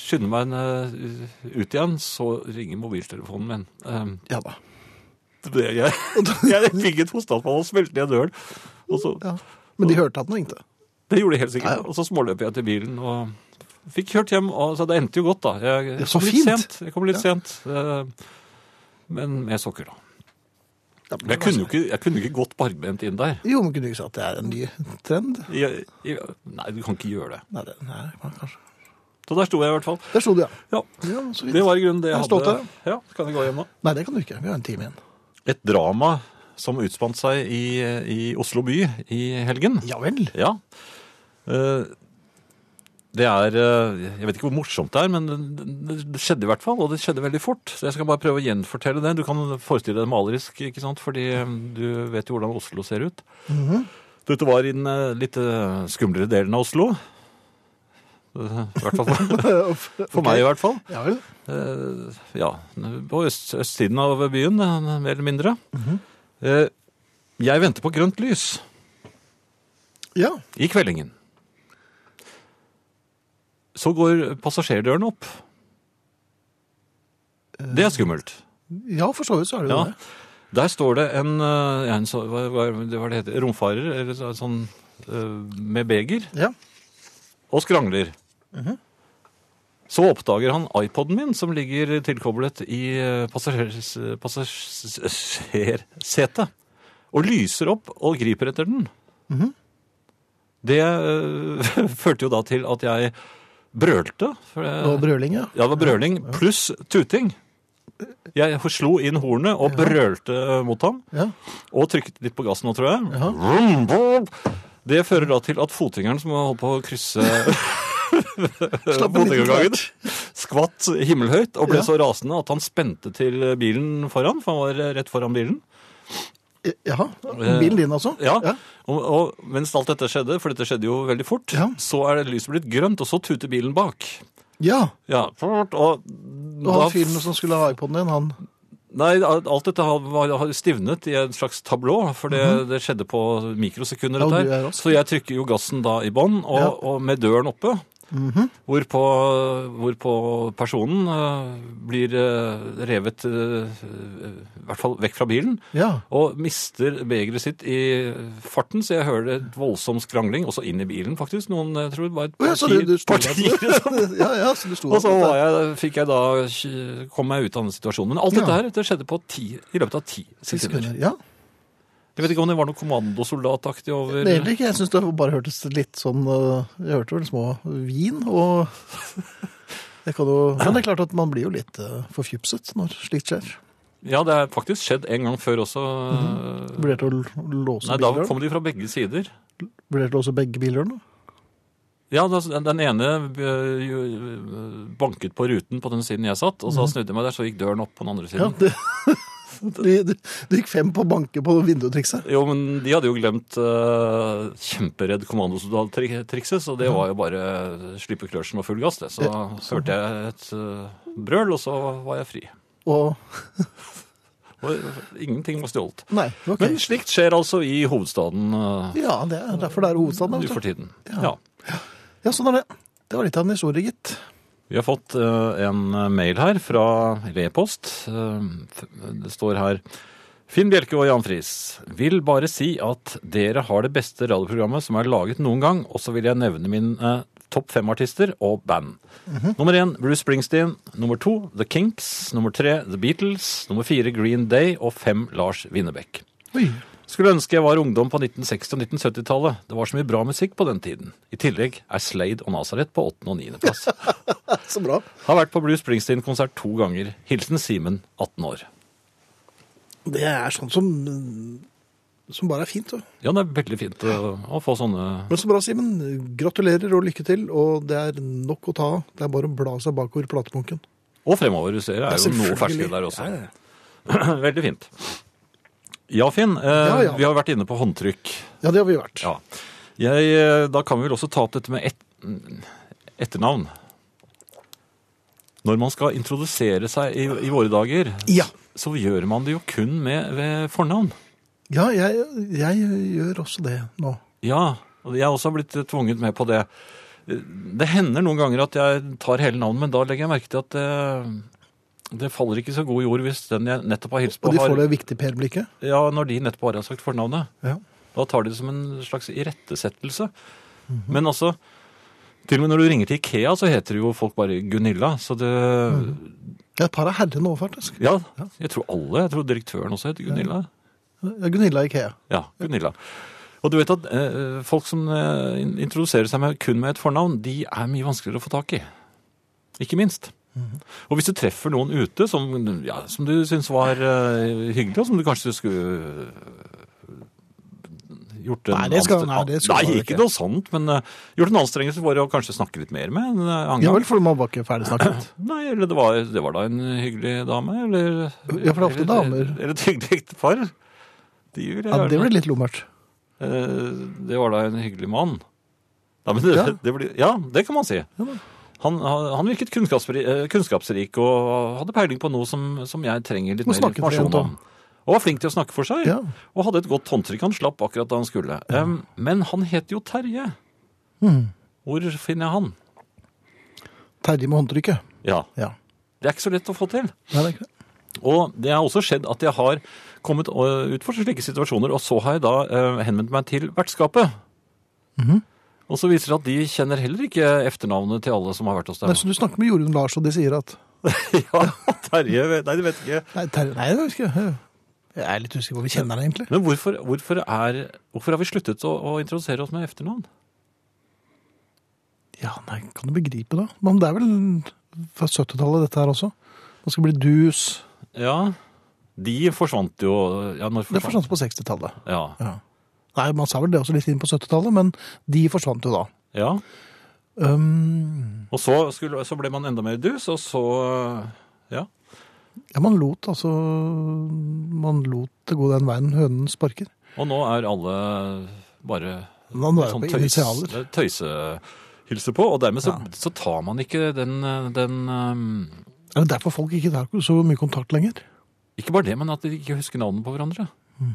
S2: skynder meg en, eh, ut igjen, så ringer mobiltelefonen min. Eh,
S1: Ja da.
S2: det, jeg, jeg fikk et hosteanfall og smelte ned døren. Og så,
S1: Ja. Men de hørte at den ringte.
S2: Det gjorde det helt
S1: Ja,
S2: sikkert.
S1: ja.
S2: Og så småløp jeg til bilen og fikk kjørt hjem. Og, så det endte jo godt, da. Jeg, jeg
S1: Ja, så
S2: kom litt
S1: fint.
S2: sent. Jeg kom litt
S1: Ja.
S2: sent. eh, Men med sokker, da.
S1: Ja, men
S2: Men jeg
S1: altså-
S2: kunne jo ikke, jeg kunne ikke gått barbent inn der.
S1: Jo, men kunne du ikke sagt at det er en ny trend?
S2: Jeg, jeg, nei, du kan ikke gjøre det.
S1: Nei, det, nei man kanskje.
S2: Så der sto jeg i hvert fall.
S1: Der sto du, ja.
S2: Ja,
S1: ja så vidt.
S2: Det var i grunnen det jeg
S1: Jeg er stolt
S2: hadde.
S1: av
S2: Ja, kan jeg gå hjem nå?
S1: Nei, det kan du ikke. Vi har en time igjen.
S2: Et drama som utspant seg i, i Oslo by i helgen.
S1: Ja vel.
S2: Ja. Eh, Det er eh, Jeg vet ikke hvor morsomt det er, men det det skjedde i hvert fall. Og det skjedde veldig fort. Så jeg skal bare prøve å gjenfortelle det. Du kan forestille deg det malerisk, ikke sant? fordi eh, du vet jo hvordan Oslo ser ut.
S1: Mhm.
S2: Dette var i den eh, litt eh, skumlere delen av Oslo. Eh, I hvert fall for, for meg, i hvert fall.
S1: Ja vel.
S2: Eh, ja, på øst, østsiden av byen, eh, mer eller mindre. Eh, jeg venter på grønt lys
S1: Ja.
S2: i kveldingen. Så går passasjerdøren opp. Det er skummelt.
S1: ja, for så vidt så er det jo
S2: Ja.
S1: det.
S2: Der står det en, eh, en så- hva, hva, det var det heter, romfarer eller så- sånn, eh, med beger
S1: Ja.
S2: og skrangler. Så oppdager han iPoden min, som ligger tilkoblet i eh, passasjers- passasjersetet, og lyser opp og griper etter den. Det eh, førte jo da til at jeg brølte. For det,
S1: Og brøling, ja.
S2: ja, det var brøling pluss tuting. Jeg slo inn hornet og brølte mot ham.
S1: ja.
S2: Og trykket litt på gassen nå, tror jeg.
S1: Jaha.
S2: Vroom, vroom. Det fører da til at fotgjengeren som holdt på å krysse
S1: Slapp en liten
S2: fotgjengergangen, skvatt himmelhøyt og ble
S1: Ja.
S2: så rasende at han spente til bilen foran, for han var rett foran bilen.
S1: Eh, Jaha.
S2: Eh.
S1: Bilen din, altså?
S2: Ja,
S1: Ja.
S2: Og, og mens alt dette skjedde, for dette skjedde jo veldig fort,
S1: Ja.
S2: så er det lyset blitt grønt, og så tuter bilen bak.
S1: ja.
S2: Ja, og,
S1: Og
S2: og
S1: han
S2: da-
S1: fyren som skulle ha iPoden din, han
S2: Nei, alt dette har, var- har stivnet i et slags tablå, for det, det skjedde på mikrosekunder.
S1: Mhm. Ja, og
S2: dette
S1: du er
S2: her.
S1: rask.
S2: Så jeg trykker jo gassen da i bånn, og,
S1: Ja.
S2: og med døren oppe.
S1: Mhm.
S2: hvorpå, hvorpå personen eh, blir eh, revet eh, i hvert fall vekk fra bilen.
S1: Ja.
S2: Og mister begeret sitt i farten, så jeg hører et voldsom skrangling. Og så inn i bilen, faktisk. Noen jeg tror det var et
S1: Å ja, så du, du sto
S2: parti, parti
S1: Ja, ja, så du sto
S2: og så
S1: der.
S2: var jeg, fikk jeg da kj- kom meg ut av den situasjonen. Men alt dette
S1: Ja.
S2: her det skjedde på ti, i løpet av ti
S1: Ti
S2: sekunder.
S1: sekunder. Ja.
S2: Jeg vet ikke om det var noe kommandosoldataktig over
S1: Det er egentlig ikke. Jeg syns det bare hørtes litt sånn øh, Jeg hørte vel små vin og det kan jo, Men det er klart at man blir jo litt øh, forfjupset når slikt skjer.
S2: Ja, det er faktisk skjedd en gang før også.
S1: Vurderte å l- låse
S2: Nei, da
S1: bildøren?
S2: kom de fra begge sider.
S1: Vurderte å låse begge bildørene?
S2: Ja, da- altså, Den ene eh, jo, eh, banket på ruten på den siden jeg satt, og så snudde jeg meg der, så gikk døren opp på den andre
S1: Mhm. Ja,
S2: siden.
S1: det, det, det, det gikk fem på banke på vinduetrikset.
S2: Jo, men de hadde jo glemt eh, kjemperedd kommandosoldattrikset, så det var jo bare slippe klørsjen og full gass, det. Så hørte jeg et eh, brøl, og så var jeg fri.
S1: Og
S2: Og ingenting var stjålet.
S1: Nei, ok.
S2: Men slikt skjer altså i hovedstaden eh,
S1: Ja, det er derfor det er hovedstaden.
S2: nå for
S1: vet du.
S2: tiden.
S1: Ja.
S2: Ja.
S1: Ja, sånn er det. Det var litt av en historie, gitt.
S2: Vi har fått eh, en mail her fra eller e-post. Eh, Det står her Finn Bjelke og Jan Friis. Vil bare si at dere har det beste radioprogrammet som er laget noen gang, og så vil jeg nevne mine eh, topp fem-artister og band. Nummer én Bruce Springsteen. Nummer to The Kinks. Nummer tre The Beatles. Nummer fire Green Day. Og fem Lars Winnebekk.
S1: Oi.
S2: Skulle ønske jeg var ungdom på 1960- og 1970-tallet. Det var så mye bra musikk på den tiden. I tillegg er Slade og Nazareth på åttende- og niendeplass.
S1: Så bra.
S2: Har vært på Bruce Springsteen-konsert to ganger. Hilsen Simen, 18 år.
S1: Det er sånn som som bare er fint. da.
S2: Ja, det er veldig fint å, å få sånne
S1: Men så bra, Simen. Gratulerer og lykke til. Og det er nok å ta av. Det er bare å bla seg bakover i platebunken.
S2: Og fremover, du ser. Det
S1: Ja,
S2: er jo noe
S1: selvfølgelig.
S2: ferskere der også.
S1: Ja, ja.
S2: Veldig fint. Ja, Finn. Eh,
S1: Ja, ja.
S2: Vi har vært inne på håndtrykk.
S1: Ja, det har vi vært.
S2: Ja. Jeg, eh, da kan vi vel også ta opp dette med et, etternavn. Når man skal introdusere seg i, i våre dager,
S1: Ja.
S2: så gjør man det jo kun med ved fornavn.
S1: Ja, jeg, jeg gjør også det nå.
S2: Ja, og jeg har også blitt tvunget med på det. Det hender noen ganger at jeg tar hele navnet, men da legger jeg merke til at det, det faller ikke så god jord hvis den jeg nettopp har hilst på,
S1: Og de får
S2: har,
S1: det viktige Per-blikket.
S2: ja, når de nettopp bare har sagt fornavnet.
S1: Ja.
S2: Da tar de det som en slags irettesettelse.
S1: Mhm.
S2: Men altså, til og med når du ringer til Ikea, så heter jo folk bare Gunilla. Så det
S1: Mhm. Ja, Et par av herrene òg, faktisk.
S2: Ja, jeg tror alle. Jeg tror direktøren også heter Gunilla.
S1: Gunilla Ikea.
S2: Ja, Gunilla. Og du vet at eh, folk som eh, in- introduserer seg med, kun med et fornavn, de er mye vanskeligere å få tak i. Ikke minst.
S1: Mhm.
S2: Og hvis du treffer noen ute som, ja, som du syns var eh, hyggelig, og som du kanskje skulle eh, gjort en
S1: Nei, det skal-
S2: anstre-
S1: nei, det skal man
S2: Nei,
S1: ikke.
S2: ikke noe sånt, men eh, gjort en anstrengelse for å kanskje snakke litt mer med en eh, annen
S1: Ja
S2: gang.
S1: vel, for man var ikke ferdig snakket.
S2: Nei, eller det var, det var da en hyggelig dame, eller
S1: Ja, for det er ofte
S2: eller-
S1: damer.
S2: Eller et hyggelig ektepar. De vil jeg
S1: Ja,
S2: gjerne.
S1: det ble litt lummert.
S2: Eh, Det var da en hyggelig mann. Nei, men det,
S1: Ja.
S2: ja. Det blir, ja, det kan man si.
S1: da.
S2: Han, han virket kunnskapsri- eh, kunnskapsrik og hadde peiling på noe som, som jeg trenger litt
S1: Og
S2: mer
S1: snakket
S2: informasjon
S1: pent om.
S2: om. Og var flink til å snakke for seg.
S1: Ja.
S2: Og hadde et godt håndtrykk. Han slapp akkurat da han skulle. Em, men han het jo Terje.
S1: Mm.
S2: Hvor finner jeg han?
S1: Terje med håndtrykket.
S2: Ja,
S1: Ja.
S2: Det er ikke så lett å få til.
S1: Nei, det er ikke det.
S2: Og det har også skjedd at jeg har kommet øh, ut for slike situasjoner, og så har jeg da øh, henvendt meg til vertskapet. Mhm. Og så viser det at de kjenner heller ikke efternavnet til alle som har vært hos dem.
S1: Nei, så du snakker med Jorunn Lars, og de sier at
S2: ja, Terje vet- Nei, de vet ikke.
S1: Nei, Terje, nei, det husker jeg. Jeg er litt usikker på hvor vi kjenner henne, egentlig.
S2: Men hvorfor, hvorfor, er, hvorfor har vi sluttet å, å introdusere oss med efternavn?
S1: Ja, nei, kan du begripe da? Men det er vel fra 70-tallet dette her også? Man skal bli dus.
S2: Ja, de forsvant jo ja, når
S1: Det forsvant på 60-tallet.
S2: Ja.
S1: Ja. Nei, man sa vel det også litt inn på 70-tallet, men de forsvant jo da.
S2: ja.
S1: Um,
S2: Og så, skulle, så ble man enda mer dus, og så øh, Ja.
S1: ja, man lot altså Man lot det gå den veien hønen sparker.
S2: Og nå er alle bare
S1: Man var jo
S2: sånn
S1: på
S2: tøys,
S1: initialer.
S2: tøysehilse på, og dermed så, så tar man ikke den, den um,
S1: Er det derfor folk ikke tar så mye kontakt lenger?
S2: Ikke bare det, men at de ikke husker navnene på hverandre.
S1: Mm.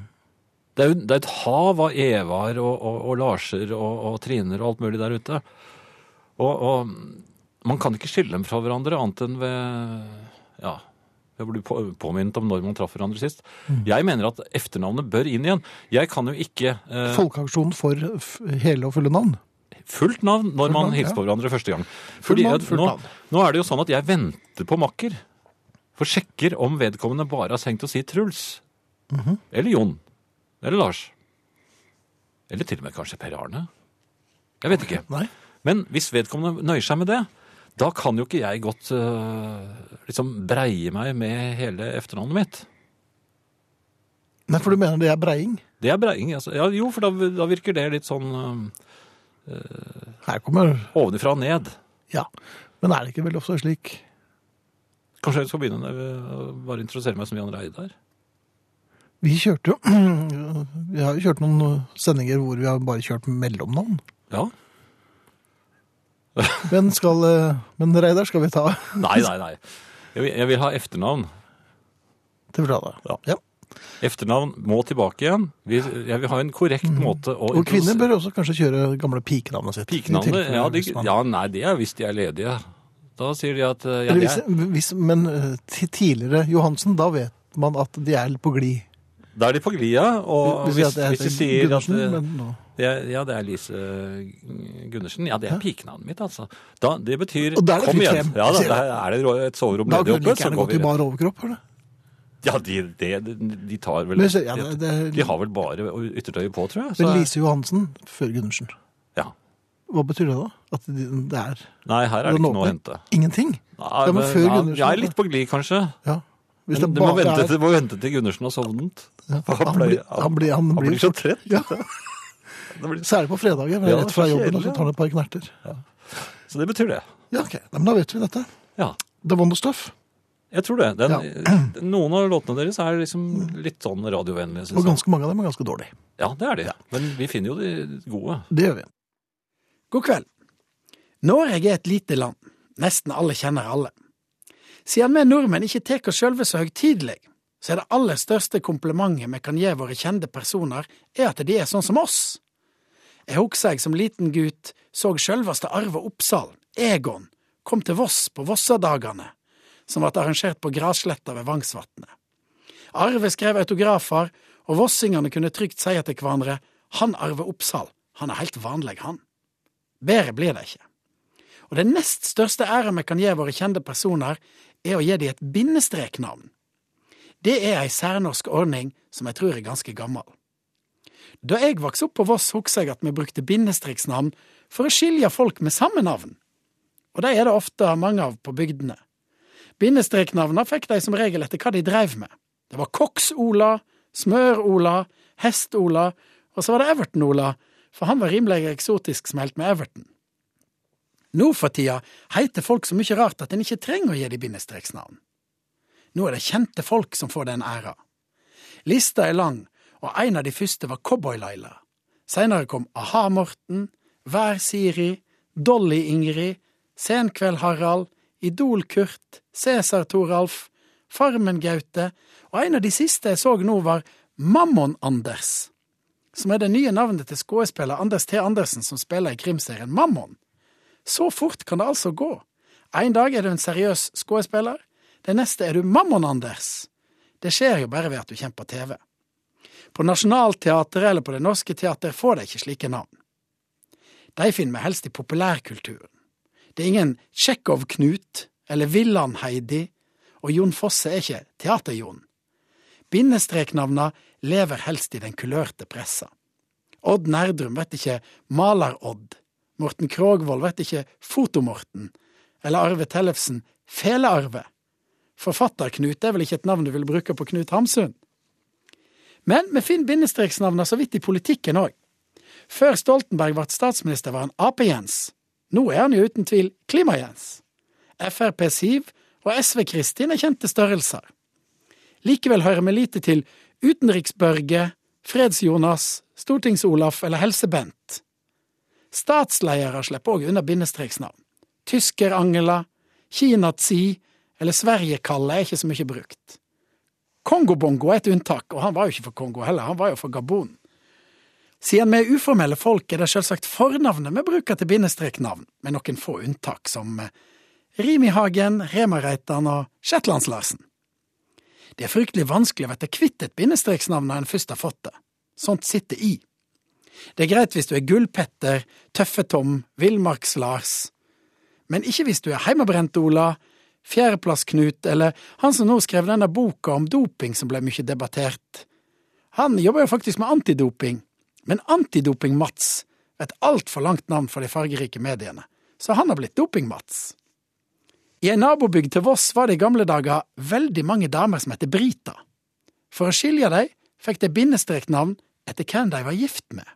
S2: Det er jo det er et hav av Evar og, og, og Larser og, og Triner og alt mulig der ute. Og, og man kan ikke skille dem fra hverandre annet enn ved ja, ved å bli på, påminnet om når man traff hverandre sist.
S1: Mm.
S2: Jeg mener at efternavnet bør inn igjen. Jeg kan jo ikke eh,
S1: Folkeaksjon for f hele og fulle navn.
S2: fullt navn når man
S1: navn, ja.
S2: hilser på hverandre første gang.
S1: Fullt
S2: Fordi
S1: navn,
S2: at
S1: fullt
S2: nå,
S1: navn.
S2: nå er det jo sånn at jeg venter på makker. For sjekker om vedkommende bare har tenkt å si Truls.
S1: Mhm.
S2: Eller Jon. Eller Lars. Eller til og med kanskje Per Arne. Jeg vet ikke.
S1: Nei.
S2: Men hvis vedkommende nøyer seg med det, da kan jo ikke jeg godt øh, liksom breie meg med hele efternavnet mitt.
S1: Nei, for du mener det er breiing?
S2: Det er breiing. Altså. Ja, jo, for da, da virker det litt sånn
S1: Her kommer
S2: øh, ovenifra og ned.
S1: Ja. Men er det ikke veldig ofte slik
S2: Kanskje jeg skal begynne med å bare interessere meg som Jan Reidar?
S1: Vi kjørte jo Vi har jo kjørt noen eh, sendinger hvor vi har bare kjørt mellomnavn.
S2: Ja.
S1: Men, skal, eh, men Reidar skal vi ta
S2: Nei, nei, nei. Jeg vil, jeg vil ha efternavn.
S1: til fra deg.
S2: Ja.
S1: Ja.
S2: Efternavn må tilbake igjen. Vi, jeg vil ha en korrekt måte å
S1: Mm. Og kvinner
S2: introdusere-
S1: bør også kanskje kjøre gamle pikenavnet sitt. i
S2: Pikenavnet?
S1: tilfelle
S2: Ja, de,
S1: hvis man-
S2: ja, nei, det er hvis de er ledige. Da sier de at eh, ja,
S1: Eller
S2: det
S1: hvis,
S2: er,
S1: hvis, men eh, ti- tidligere Johansen, da vet man at de er litt på glid.
S2: Da er de på glia, og hvis,
S1: jeg heter
S2: hvis de sier at
S1: Gundersen,
S2: eh,
S1: men nå-
S2: det er, Ja, det er Lise eh, Gundersen. Ja, det er pikenavnet mitt, altså. Da, det betyr
S1: Og da er det
S2: Kom
S1: fritt
S2: igjen!
S1: frem,
S2: Ja,
S1: sier jeg.
S2: da, er det rå- et soverom
S1: Da kunne
S2: ledig
S1: de
S2: oppe,
S1: ikke
S2: så
S1: gjerne
S2: går
S1: gått i
S2: vi
S1: bar overkropp. eller?
S2: Ja, de, det- de tar vel
S1: Men, så- ja, det, det,
S2: De har vel bare yttertøyet på, tror jeg.
S1: men
S2: så-
S1: Lise Johansen før Gundersen.
S2: ja.
S1: Hva betyr det da? At de- det er
S2: Nei, her er det
S1: Den
S2: ikke noe
S1: åpner.
S2: å hente.
S1: ingenting?
S2: Nei,
S1: Ja, men før
S2: ja,
S1: Gundersen-
S2: jeg er litt på glid, kanskje.
S1: Ja. Hvis det
S2: Men du må
S1: bare
S2: vente,
S1: er-
S2: til- du må vente til Gundersen har sovnet.
S1: Ja,
S2: For
S1: han blir- han blir- han blir
S2: så trett.
S1: Ja,
S2: Det blir-
S1: Særlig på fredager.
S2: Ja,
S1: Ja, rett fra
S2: så
S1: jobben,
S2: kjedelig,
S1: og så
S2: ja.
S1: tar han et par knerter.
S2: Så det betyr det.
S1: Ja, ok. Nei, men da vet vi dette.
S2: Ja,
S1: The Wonder Stuff.
S2: jeg tror det. Den, Noen av låtene deres er liksom litt sånn radiovennlige,
S1: Og
S2: synes jeg.
S1: ganske mange av dem er ganske dårlige.
S2: Ja, det er de. Men vi finner jo de gode.
S1: Det gjør vi.
S3: God kveld. Norge er et lite land. Nesten alle kjenner alle. Siden vi nordmenn ikke tar oss sjølve så høgtidelig, så er det aller største komplimentet vi kan gi våre kjente personer, er at de er sånn som oss. Jeg husker jeg som liten gutt så sjølveste Arve Oppsal, Egon, kom til Voss på Vossadagane, som ble arrangert på Grassletta ved Vangsvatnet. Arve skrev autografer, og vossingene kunne trygt si til hverandre han Arve Oppsal, han er helt vanlig, han. Bedre blir det ikke. Og den nest største æren vi kan gi våre kjente personer, er å gi dem et bindestreknavn. Det er ei særnorsk ordning som jeg tror er ganske gammel. Da jeg vokste opp på Voss, husker jeg at vi brukte bindestriksnavn for å skilje folk med samme navn. Og de er det ofte mange av på bygdene. Bindestreknavna fikk de som regel etter hva de dreiv med. Det var Koks-Ola, Smør-Ola, Hest-Ola, og så var det Everton-Ola, for han var rimelig eksotisk smelt med Everton. Nå for tida heiter folk så mye rart at en ikke trenger å gi dem bindestreksnavn. Nå er det kjente folk som får den æra. Lista er lang, og en av de første var Cowboy-Laila. Seinere kom A-ha-Morten, Vær-Siri, Dolly-Ingrid, Senkveld-Harald, Idol-Kurt, Cæsar-Toralf, Farmen-Gaute, og en av de siste jeg så nå var Mammon-Anders, som er det nye navnet til skuespiller Anders T. Andersen som spiller i krimserien Mammon. Så fort kan det altså gå. En dag er du en seriøs skuespiller, den neste er du Mammon-Anders. Det skjer jo bare ved at du kommer på TV. På Nationaltheatret eller på Det Norske Teater får de ikke slike navn. De finner vi helst i populærkulturen. Det er ingen Tsjekkov-Knut eller Villand-Heidi, og Jon Fosse er ikke Teater-Jon. Bindestreknavna lever helst i den kulørte pressa. Odd Nerdrum vet ikke Maler-Odd, Morten Krogvold vet ikke Fotomorten, eller Arve Tellefsen Fele-Arve. Forfatter-Knut er vel ikke et navn du vil bruke på Knut Hamsun? Men vi finner bindestreksnavna så vidt i politikken òg. Før Stoltenberg ble statsminister, var han Ap-Jens. Nå er han jo uten tvil Klima-Jens. Frp Siv og SV Kristin er kjente størrelser. Likevel hører vi lite til Utenriks-Børge, Freds-Jonas, Stortings-Olaf eller Helse-Bent. Statsledere slipper òg unna bindestreksnavn. Tysker-Angela, Kina-Tsi eller Sverige-Kalle er ikke så mye brukt. Kongobongo er et unntak, og han var jo ikke for Kongo heller, han var jo for Gabon. Siden vi er uformelle folk, er det selvsagt fornavnet vi bruker til bindestreknavn, med noen få unntak, som eh, Rimihagen, Remareitan og Shetlands-Larsen. Det er fryktelig vanskelig å bli kvitt et bindestreksnavn når en først har fått det. Sånt sitter i. Det er greit hvis du er Gullpetter, Tøffe-Tom, Villmarks-Lars, men ikke hvis du er Heimebrent-Ola, Fjerdeplass-Knut, eller han som nå skrev denne boka om doping som ble mye debattert. Han jobber jo faktisk med antidoping, men Antidoping-Mats er et altfor langt navn for de fargerike mediene, så han har blitt Doping-Mats. I ei nabobygd til Voss var det i gamle dager veldig mange damer som het Brita. For å skilje dem fikk de bindestreknavn etter hvem de var gift med.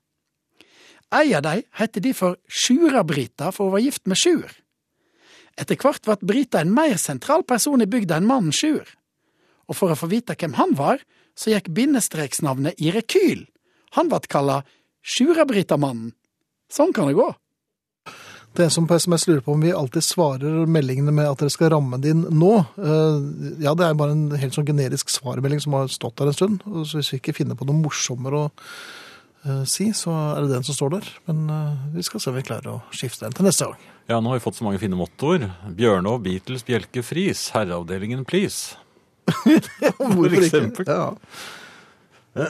S3: Ei av dem het de for Sjura-Brita, for hun var gift med Sjur. Etter hvert ble Brita en mer sentral person i bygda enn mannen Sjur. Og for å få vite hvem han var, så gikk bindestreksnavnet i rekyl. Han ble kalla Sjurabrita-mannen. Sånn kan det gå.
S1: Det er en som på SMS lurer på om vi alltid svarer meldingene med at dere skal ramme det inn nå. Eh, Ja, det er bare en helt sånn generisk svarmelding som har stått der en stund. og Så hvis vi ikke finner på noe morsommere å eh, si, så er det den som står der. Men eh, vi skal se om vi klarer å skifte den til neste gang.
S2: Ja, nå har vi fått så mange fine mottoer. Bjørnov, Beatles, Bjelke, Friis. Herreavdelingen, please.
S1: Hvorfor
S2: eksempel.
S1: Ja.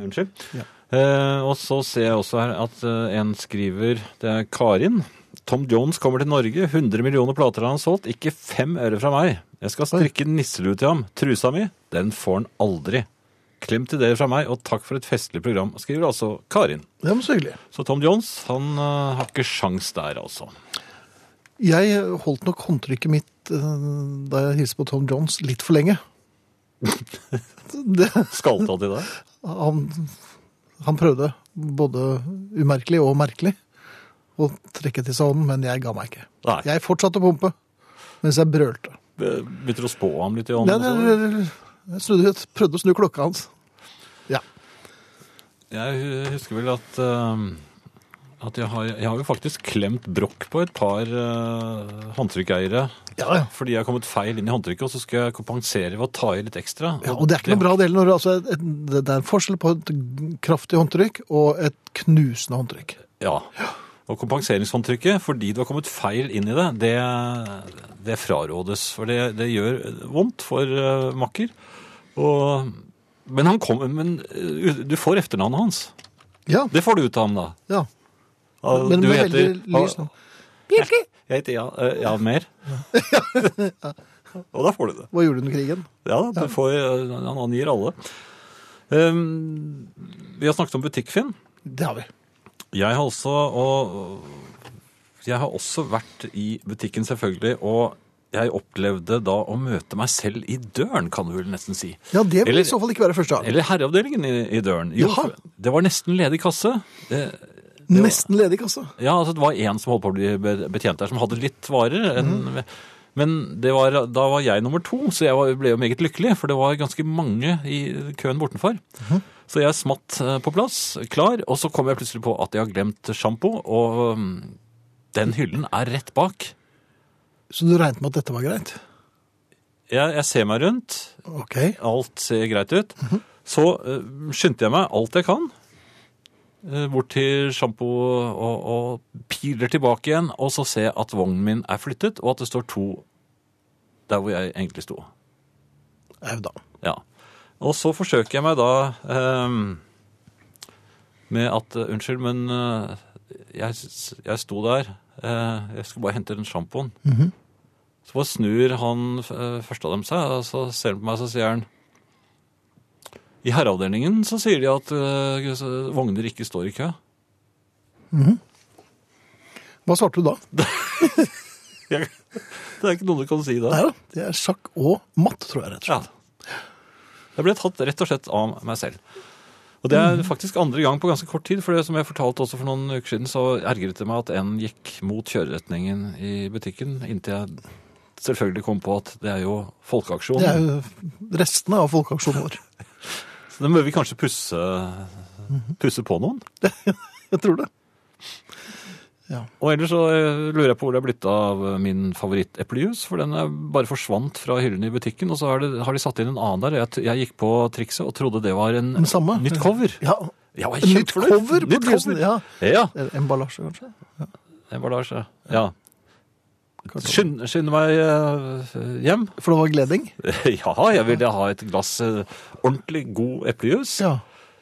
S2: Unnskyld.
S1: Ja.
S2: Eh, og så ser jeg også her at eh, en skriver Det er Karin. Tom Jones kommer til Norge. 100 millioner plater har han solgt. Ikke fem øre fra meg. Jeg skal strikke nisselue til ham. Trusa mi, den får han aldri. Klem til dere fra meg, og takk for et festlig program, skriver altså Karin.
S1: Det var så hyggelig.
S2: Så Tom Jones, han eh, har ikke sjans der, altså.
S1: Jeg holdt nok håndtrykket mitt eh, da jeg hilste på Tom Jones litt for lenge. det,
S2: Skalta til deg.
S1: han, han prøvde både umerkelig og merkelig å trekke til seg hånden, men jeg ga meg ikke.
S2: Nei.
S1: Jeg fortsatte å pumpe mens jeg brølte.
S2: Begynte å spå ham litt i
S1: Nei,
S2: altså, ånden.
S1: nei,
S2: også.
S1: nei, nei. Jeg snudde, ut, prøvde å snu klokka hans. Ja.
S2: Jeg husker vel at, eh, at jeg, har, jeg har jo faktisk klemt brokk på et par eh, håndtrykkeiere.
S1: Ja, ja.
S2: Fordi jeg har kommet feil inn i håndtrykket, og så skal jeg kompensere ved å ta i litt ekstra.
S1: Ja, og det er ikke noe bra del når det, altså, et, det det er en forskjell på et kraftig håndtrykk og et knusende håndtrykk.
S2: Ja. Og kompenseringshåndtrykket, fordi du har kommet feil inn i det, det, det frarådes. For det, det gjør vondt for eh, makker. Og, men han kommer Men eh, du får etternavnet hans.
S1: Ja,
S2: Det får du ut av ham, da.
S1: ja.
S2: Ah,
S1: Men
S2: du
S1: med veldig
S2: heter-
S1: lys nå.
S2: Jeg heter ja, eh, ja mer. Og da får du det.
S1: Hva gjorde du under krigen?
S2: Ja, da, du får, eh, han angir alle. Ehm, vi har snakket om butikkfinn.
S1: Det har vi.
S2: Jeg har også, og jeg har også vært i butikken selvfølgelig, og jeg opplevde da å møte meg selv i døren, kan du vel nesten si.
S1: Ja, det vil
S2: Eller-
S1: i så fall ikke være første gang.
S2: Eller herreavdelingen i, i døren. Jo,
S1: Jaha.
S2: det var nesten ledig kasse. Eh,
S1: Nesten ledig kasse.
S2: Ja, altså det var en som holdt på å bli be- betjent der, som hadde litt varer. En, Men det var, da var jeg nummer to, så jeg var, ble jo meget lykkelig, for det var ganske mange i køen bortenfor. Så jeg smatt eh, på plass, klar, og så kom jeg plutselig på at jeg har glemt sjampo, og mm, den hyllen er rett bak.
S1: Så du regnet med at dette var greit?
S2: Jeg, jeg ser meg rundt,
S1: Ok.
S2: alt ser greit ut. Så eh, skyndte jeg meg alt jeg kan, eh, bort til sjampo og, og piler tilbake igjen, og så ser jeg at vognen min er flyttet, og at det står to der hvor jeg egentlig sto.
S1: Au da.
S2: Ja. Og så forsøker jeg meg da ehm, med at eh, Unnskyld, men eh, jeg, s- jeg sto der. eh, jeg skulle bare hente den sjampoen. Så bare snur han eh, første av dem seg, og så ser han på meg, så sier han I herreavdelingen så sier de at eh, så- vogner ikke står i kø.
S1: Hva svarte du da?
S2: Jeg- Det er ikke noe du kan si da.
S1: Nei da, det er sjakk og matt, tror jeg rett og
S2: Ja.
S1: slett.
S2: Jeg ble tatt rett og slett av meg selv. Og det
S1: Mm.
S2: er faktisk andre gang på ganske kort tid, for det som jeg fortalte også for noen uker siden, så ergret det meg at en gikk mot kjøreretningen i butikken, inntil jeg selvfølgelig kom på at det er jo folkeaksjon.
S1: Det er jo restene av folkeaksjonen vår.
S2: Så det må vi kanskje pusse,
S1: Mhm.
S2: pusse på noen.
S1: Jeg tror det.
S2: Og ellers så eh, lurer jeg på hvor det er blitt av min favoritt-eplejus, for den er bare forsvant fra hyllen i butikken, og så har de, har de satt inn en annen der. Jeg, t- jeg gikk på trikset og trodde det var en
S1: Den samme.
S2: nytt cover.
S1: Ja,
S2: Jeg var
S1: Nytt
S2: kjempefornøyd.
S1: cover på
S2: Nytt
S1: blusen,
S2: cover.
S1: ja.
S2: Ja,
S1: Eller Emballasje, kanskje?
S2: emballasje. Ja.
S1: Kanskje.
S2: Skynd, skynd meg eh, hjem.
S1: For det var gleding?
S2: ja, jeg ville ha et glass eh, ordentlig god eplejus.
S1: Ja.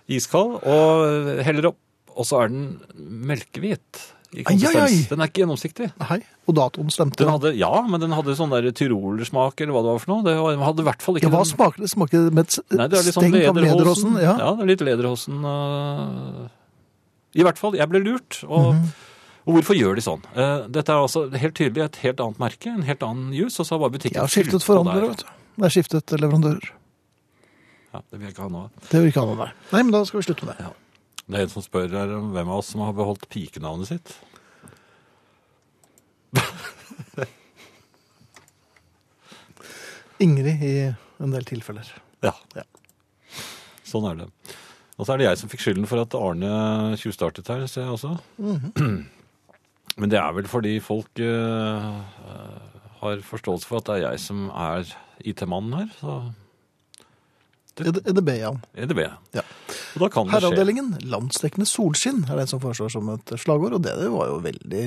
S2: Iskald. Og eh, heller opp. Og så er den melkehvit. i
S1: Ai, ai,
S2: konsistens.
S1: ai.
S2: Den er ikke gjennomsiktig.
S1: Hei. Og datoen stemte.
S2: Den hadde, ja, men den hadde sånn der tyrolersmak, eller hva det var for noe. Det var- den hadde i hvert fall ikke
S1: Ja, hva
S2: den-
S1: smaker det? Smaker det med et s-
S2: Nei, det er litt sånn
S1: steng av lederåsen?
S2: lederhosen.
S1: Ja.
S2: det er litt lederhosen. øh. I hvert fall, jeg ble lurt. Og,
S1: Mhm.
S2: og hvorfor gjør de sånn? Eh, Dette er altså helt tydelig et helt annet merke, en helt annen juice, og så har bare
S1: Jeg
S2: butikken
S1: har skiftet
S2: fylt på
S1: forhandlere,
S2: der.
S1: vet du. Det er skiftet leverandører.
S2: Ja, det vil jeg ikke ha nå.
S1: Det vil ikke han ha, nei. Nei, men da skal vi slutte med det.
S2: Det er en som spør her om hvem av oss som har beholdt pikenavnet sitt.
S1: Ingrid i en del tilfeller.
S2: Ja.
S1: Ja.
S2: Sånn er det. Og så er det jeg som fikk skylden for at Arne tjuvstartet her, ser jeg også. Mhm. Men det er vel fordi folk eh, eh, har forståelse for at det er jeg som er IT-mannen her. Så
S1: ED- EDB, Jan.
S2: EDB.
S1: Ja.
S2: Og da kan det skje.
S1: Herreavdelingen, landsdekkende solskinn, er det som foreslår som et slagord, og det var jo veldig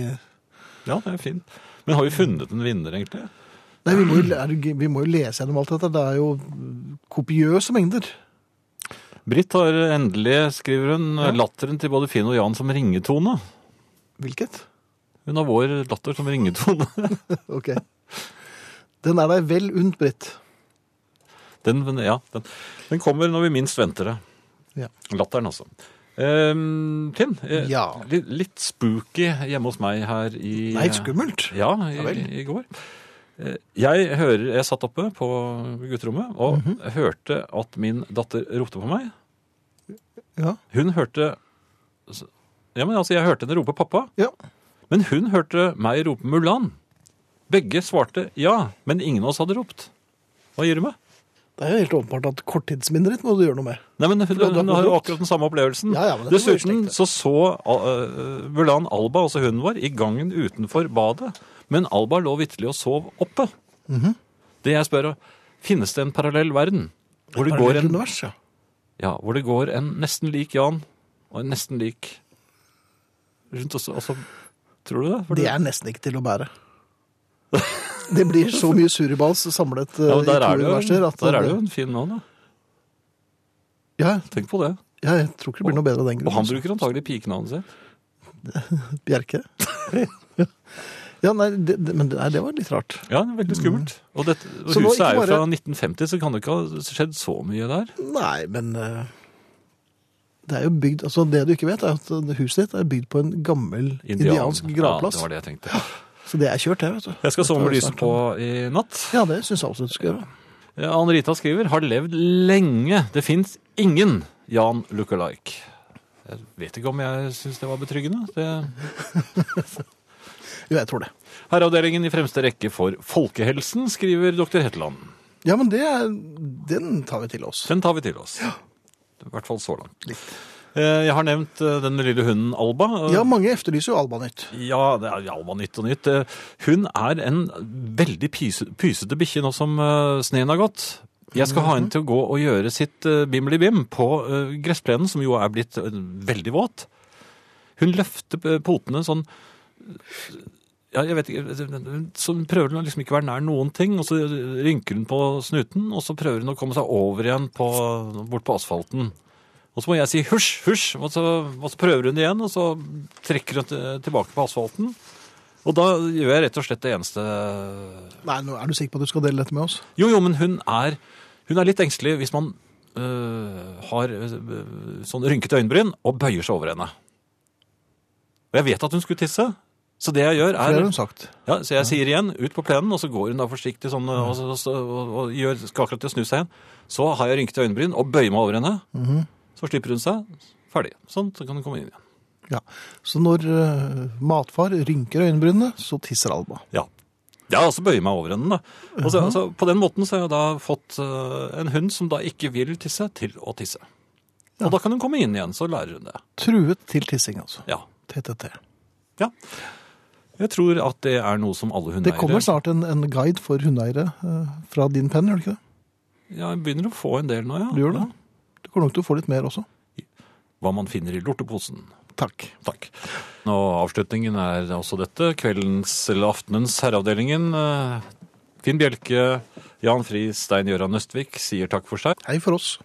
S2: Ja, det er fint. Men har vi funnet en vinner, egentlig?
S1: Nei, vi må jo, lære- vi må jo lese gjennom alt dette. Det er jo kopiøse mengder.
S2: Britt har endelig, skriver hun, latteren til både Finn og Jan som ringetone.
S1: Hvilket?
S2: Hun har vår latter som ringetone.
S1: Ok. Den er deg vel unt, Britt.
S2: Den, men ja, den, den kommer når vi minst venter det.
S1: Ja.
S2: Latteren, altså. Ehm, Finn, eh,
S1: Ja.
S2: li- litt, spooky hjemme hos meg her i
S1: Nei, skummelt.
S2: Ja,
S1: Ja
S2: i,
S1: vel.
S2: i går. Eh, Jeg, hører, jeg satt oppe på gutterommet og
S1: Mhm.
S2: hørte at min datter ropte på meg.
S1: Ja.
S2: Hun hørte Ja, men altså, jeg hørte henne rope pappa,
S1: ja.
S2: men hun hørte meg rope Mulan. Begge svarte ja, men ingen av oss hadde ropt. Hva gjør du med?
S1: Det er jo helt åpenbart at korttidsminnet ditt må du gjøre noe med.
S2: Nei, men hun,
S1: da- da-
S2: hun har jo akkurat den samme opplevelsen.
S1: Ja, ja, men dette var jo slikt,
S2: Dessuten
S1: det.
S2: så så uh, Mulan Alba, altså hunden vår, i gangen utenfor badet. Men Alba lå vitterlig og sov oppe.
S1: Mhm.
S2: Det jeg spør om, finnes det en parallell verden? Hvor det, går
S1: Parallelt
S2: en,
S1: univers, ja.
S2: ja, hvor det går en nesten lik Jan og en nesten lik rundt også. Altså, tror du det? For
S1: Det
S2: du-
S1: er nesten ikke til å bære. Det blir så mye suribals samlet eh,
S2: ja, men
S1: i
S2: der
S1: to
S2: er det
S1: universer
S2: jo,
S1: at
S2: der er det jo en fin mann, da.
S1: Ja,
S2: Tenk på det.
S1: ja, jeg tror ikke det blir noe bedre av den
S2: Og han
S1: grunnen.
S2: bruker antagelig pikenavnet sitt.
S1: Bjerke. Ja, nei, det, det- men det- nei, det var litt rart.
S2: Ja, det er veldig skummelt. Og, dette, og
S1: Mm. Så nå
S2: huset
S1: ikke
S2: er jo
S1: bare-
S2: fra 1950, så kan det ikke ha skjedd så mye der.
S1: Nei, men eh, det er jo bygd Altså, det du ikke vet, er at eh, huset ditt er bygd på en gammel indiansk gravplass.
S2: Ja, det var det jeg tenkte.
S1: Så det er kjørt, det, vet du.
S2: Jeg skal sove med
S1: Dette er
S2: lyset
S1: snart
S2: på i natt.
S1: Ja, det syns jeg absolutt du skal gjøre.
S2: Ja, Ann-Rita skriver har levd lenge. Det fins ingen Jan Lookalike. Jeg vet ikke om jeg syns det var betryggende. Det...
S1: Jo, jeg tror det.
S2: Herreavdelingen i fremste rekke for folkehelsen, skriver dr. Hetland.
S1: Ja, men det er, den tar vi til oss.
S2: Den tar vi til oss. I hvert fall så langt. Eh, Jeg har nevnt eh, den lille hunden Alba.
S1: Ja, mange efterlyser jo Alba-nytt.
S2: Ja, det er jo Alba nytt og nytt. Eh, Hun er en veldig pyse- pysete bikkje nå som eh, sneen har gått. Jeg skal ha henne til å gå og gjøre sitt eh, bimli-bim på eh, gressplenen, som jo er blitt eh, veldig våt. Hun løfter eh, potene sånn eh, ja, jeg vet ikke, så hun prøver hun å liksom ikke være nær noen ting, og så eh, rynker hun på snuten, og så prøver hun å komme seg over igjen på, bort på asfalten. Og så må jeg si husj, husj, og så, og så prøver hun igjen, og så trekker hun til- tilbake på asfalten. Og da gjør jeg rett og slett det eneste
S1: Nei, nå er du sikker på at du skal dele dette med oss?
S2: Jo, jo, men hun er, hun er litt engstelig hvis man øh, har øh, sånn rynkete øyenbryn og bøyer seg over henne. Og jeg vet at hun skulle tisse, så det jeg gjør
S1: For det
S2: er
S1: har hun sagt.
S2: ja, så jeg sier igjen, ut på plenen, og så går hun da forsiktig sånn, og, så- og, så- og, og gjør, skal akkurat til å snu seg igjen. Så har jeg rynkete øyenbryn og bøyer meg over henne. Så slipper hun seg. Ferdig. Sånn, så kan hun komme inn igjen.
S1: Ja. Så når eh, matfar rynker øyenbrynene, så tisser Alba.
S2: Ja. Ja, og så bøyer jeg meg over henne, da. Og så, altså, på den måten så har jeg da fått eh, en hund som da ikke vil tisse, til å tisse. Og da kan hun komme inn igjen, så lærer hun det.
S1: Truet til tissing, altså.
S2: Ja.
S1: TTT.
S2: ja. Jeg tror at det er noe som alle hundeeiere
S1: Det kommer snart en, en guide for hundeeiere eh, fra din penn, gjør det ikke det?
S2: Ja, jeg begynner å få en del nå, ja.
S1: Du gjør det? Du kommer nok til å få litt mer også.
S2: Hva man finner i lorteposen.
S1: Takk.
S2: Takk. Og avslutningen er også dette. Kveldens eller aftenens herreavdelingen. Eh, Finn Bjelke, Jan Friis, Stein Gøran Østvik sier takk for seg.
S1: Hei for oss.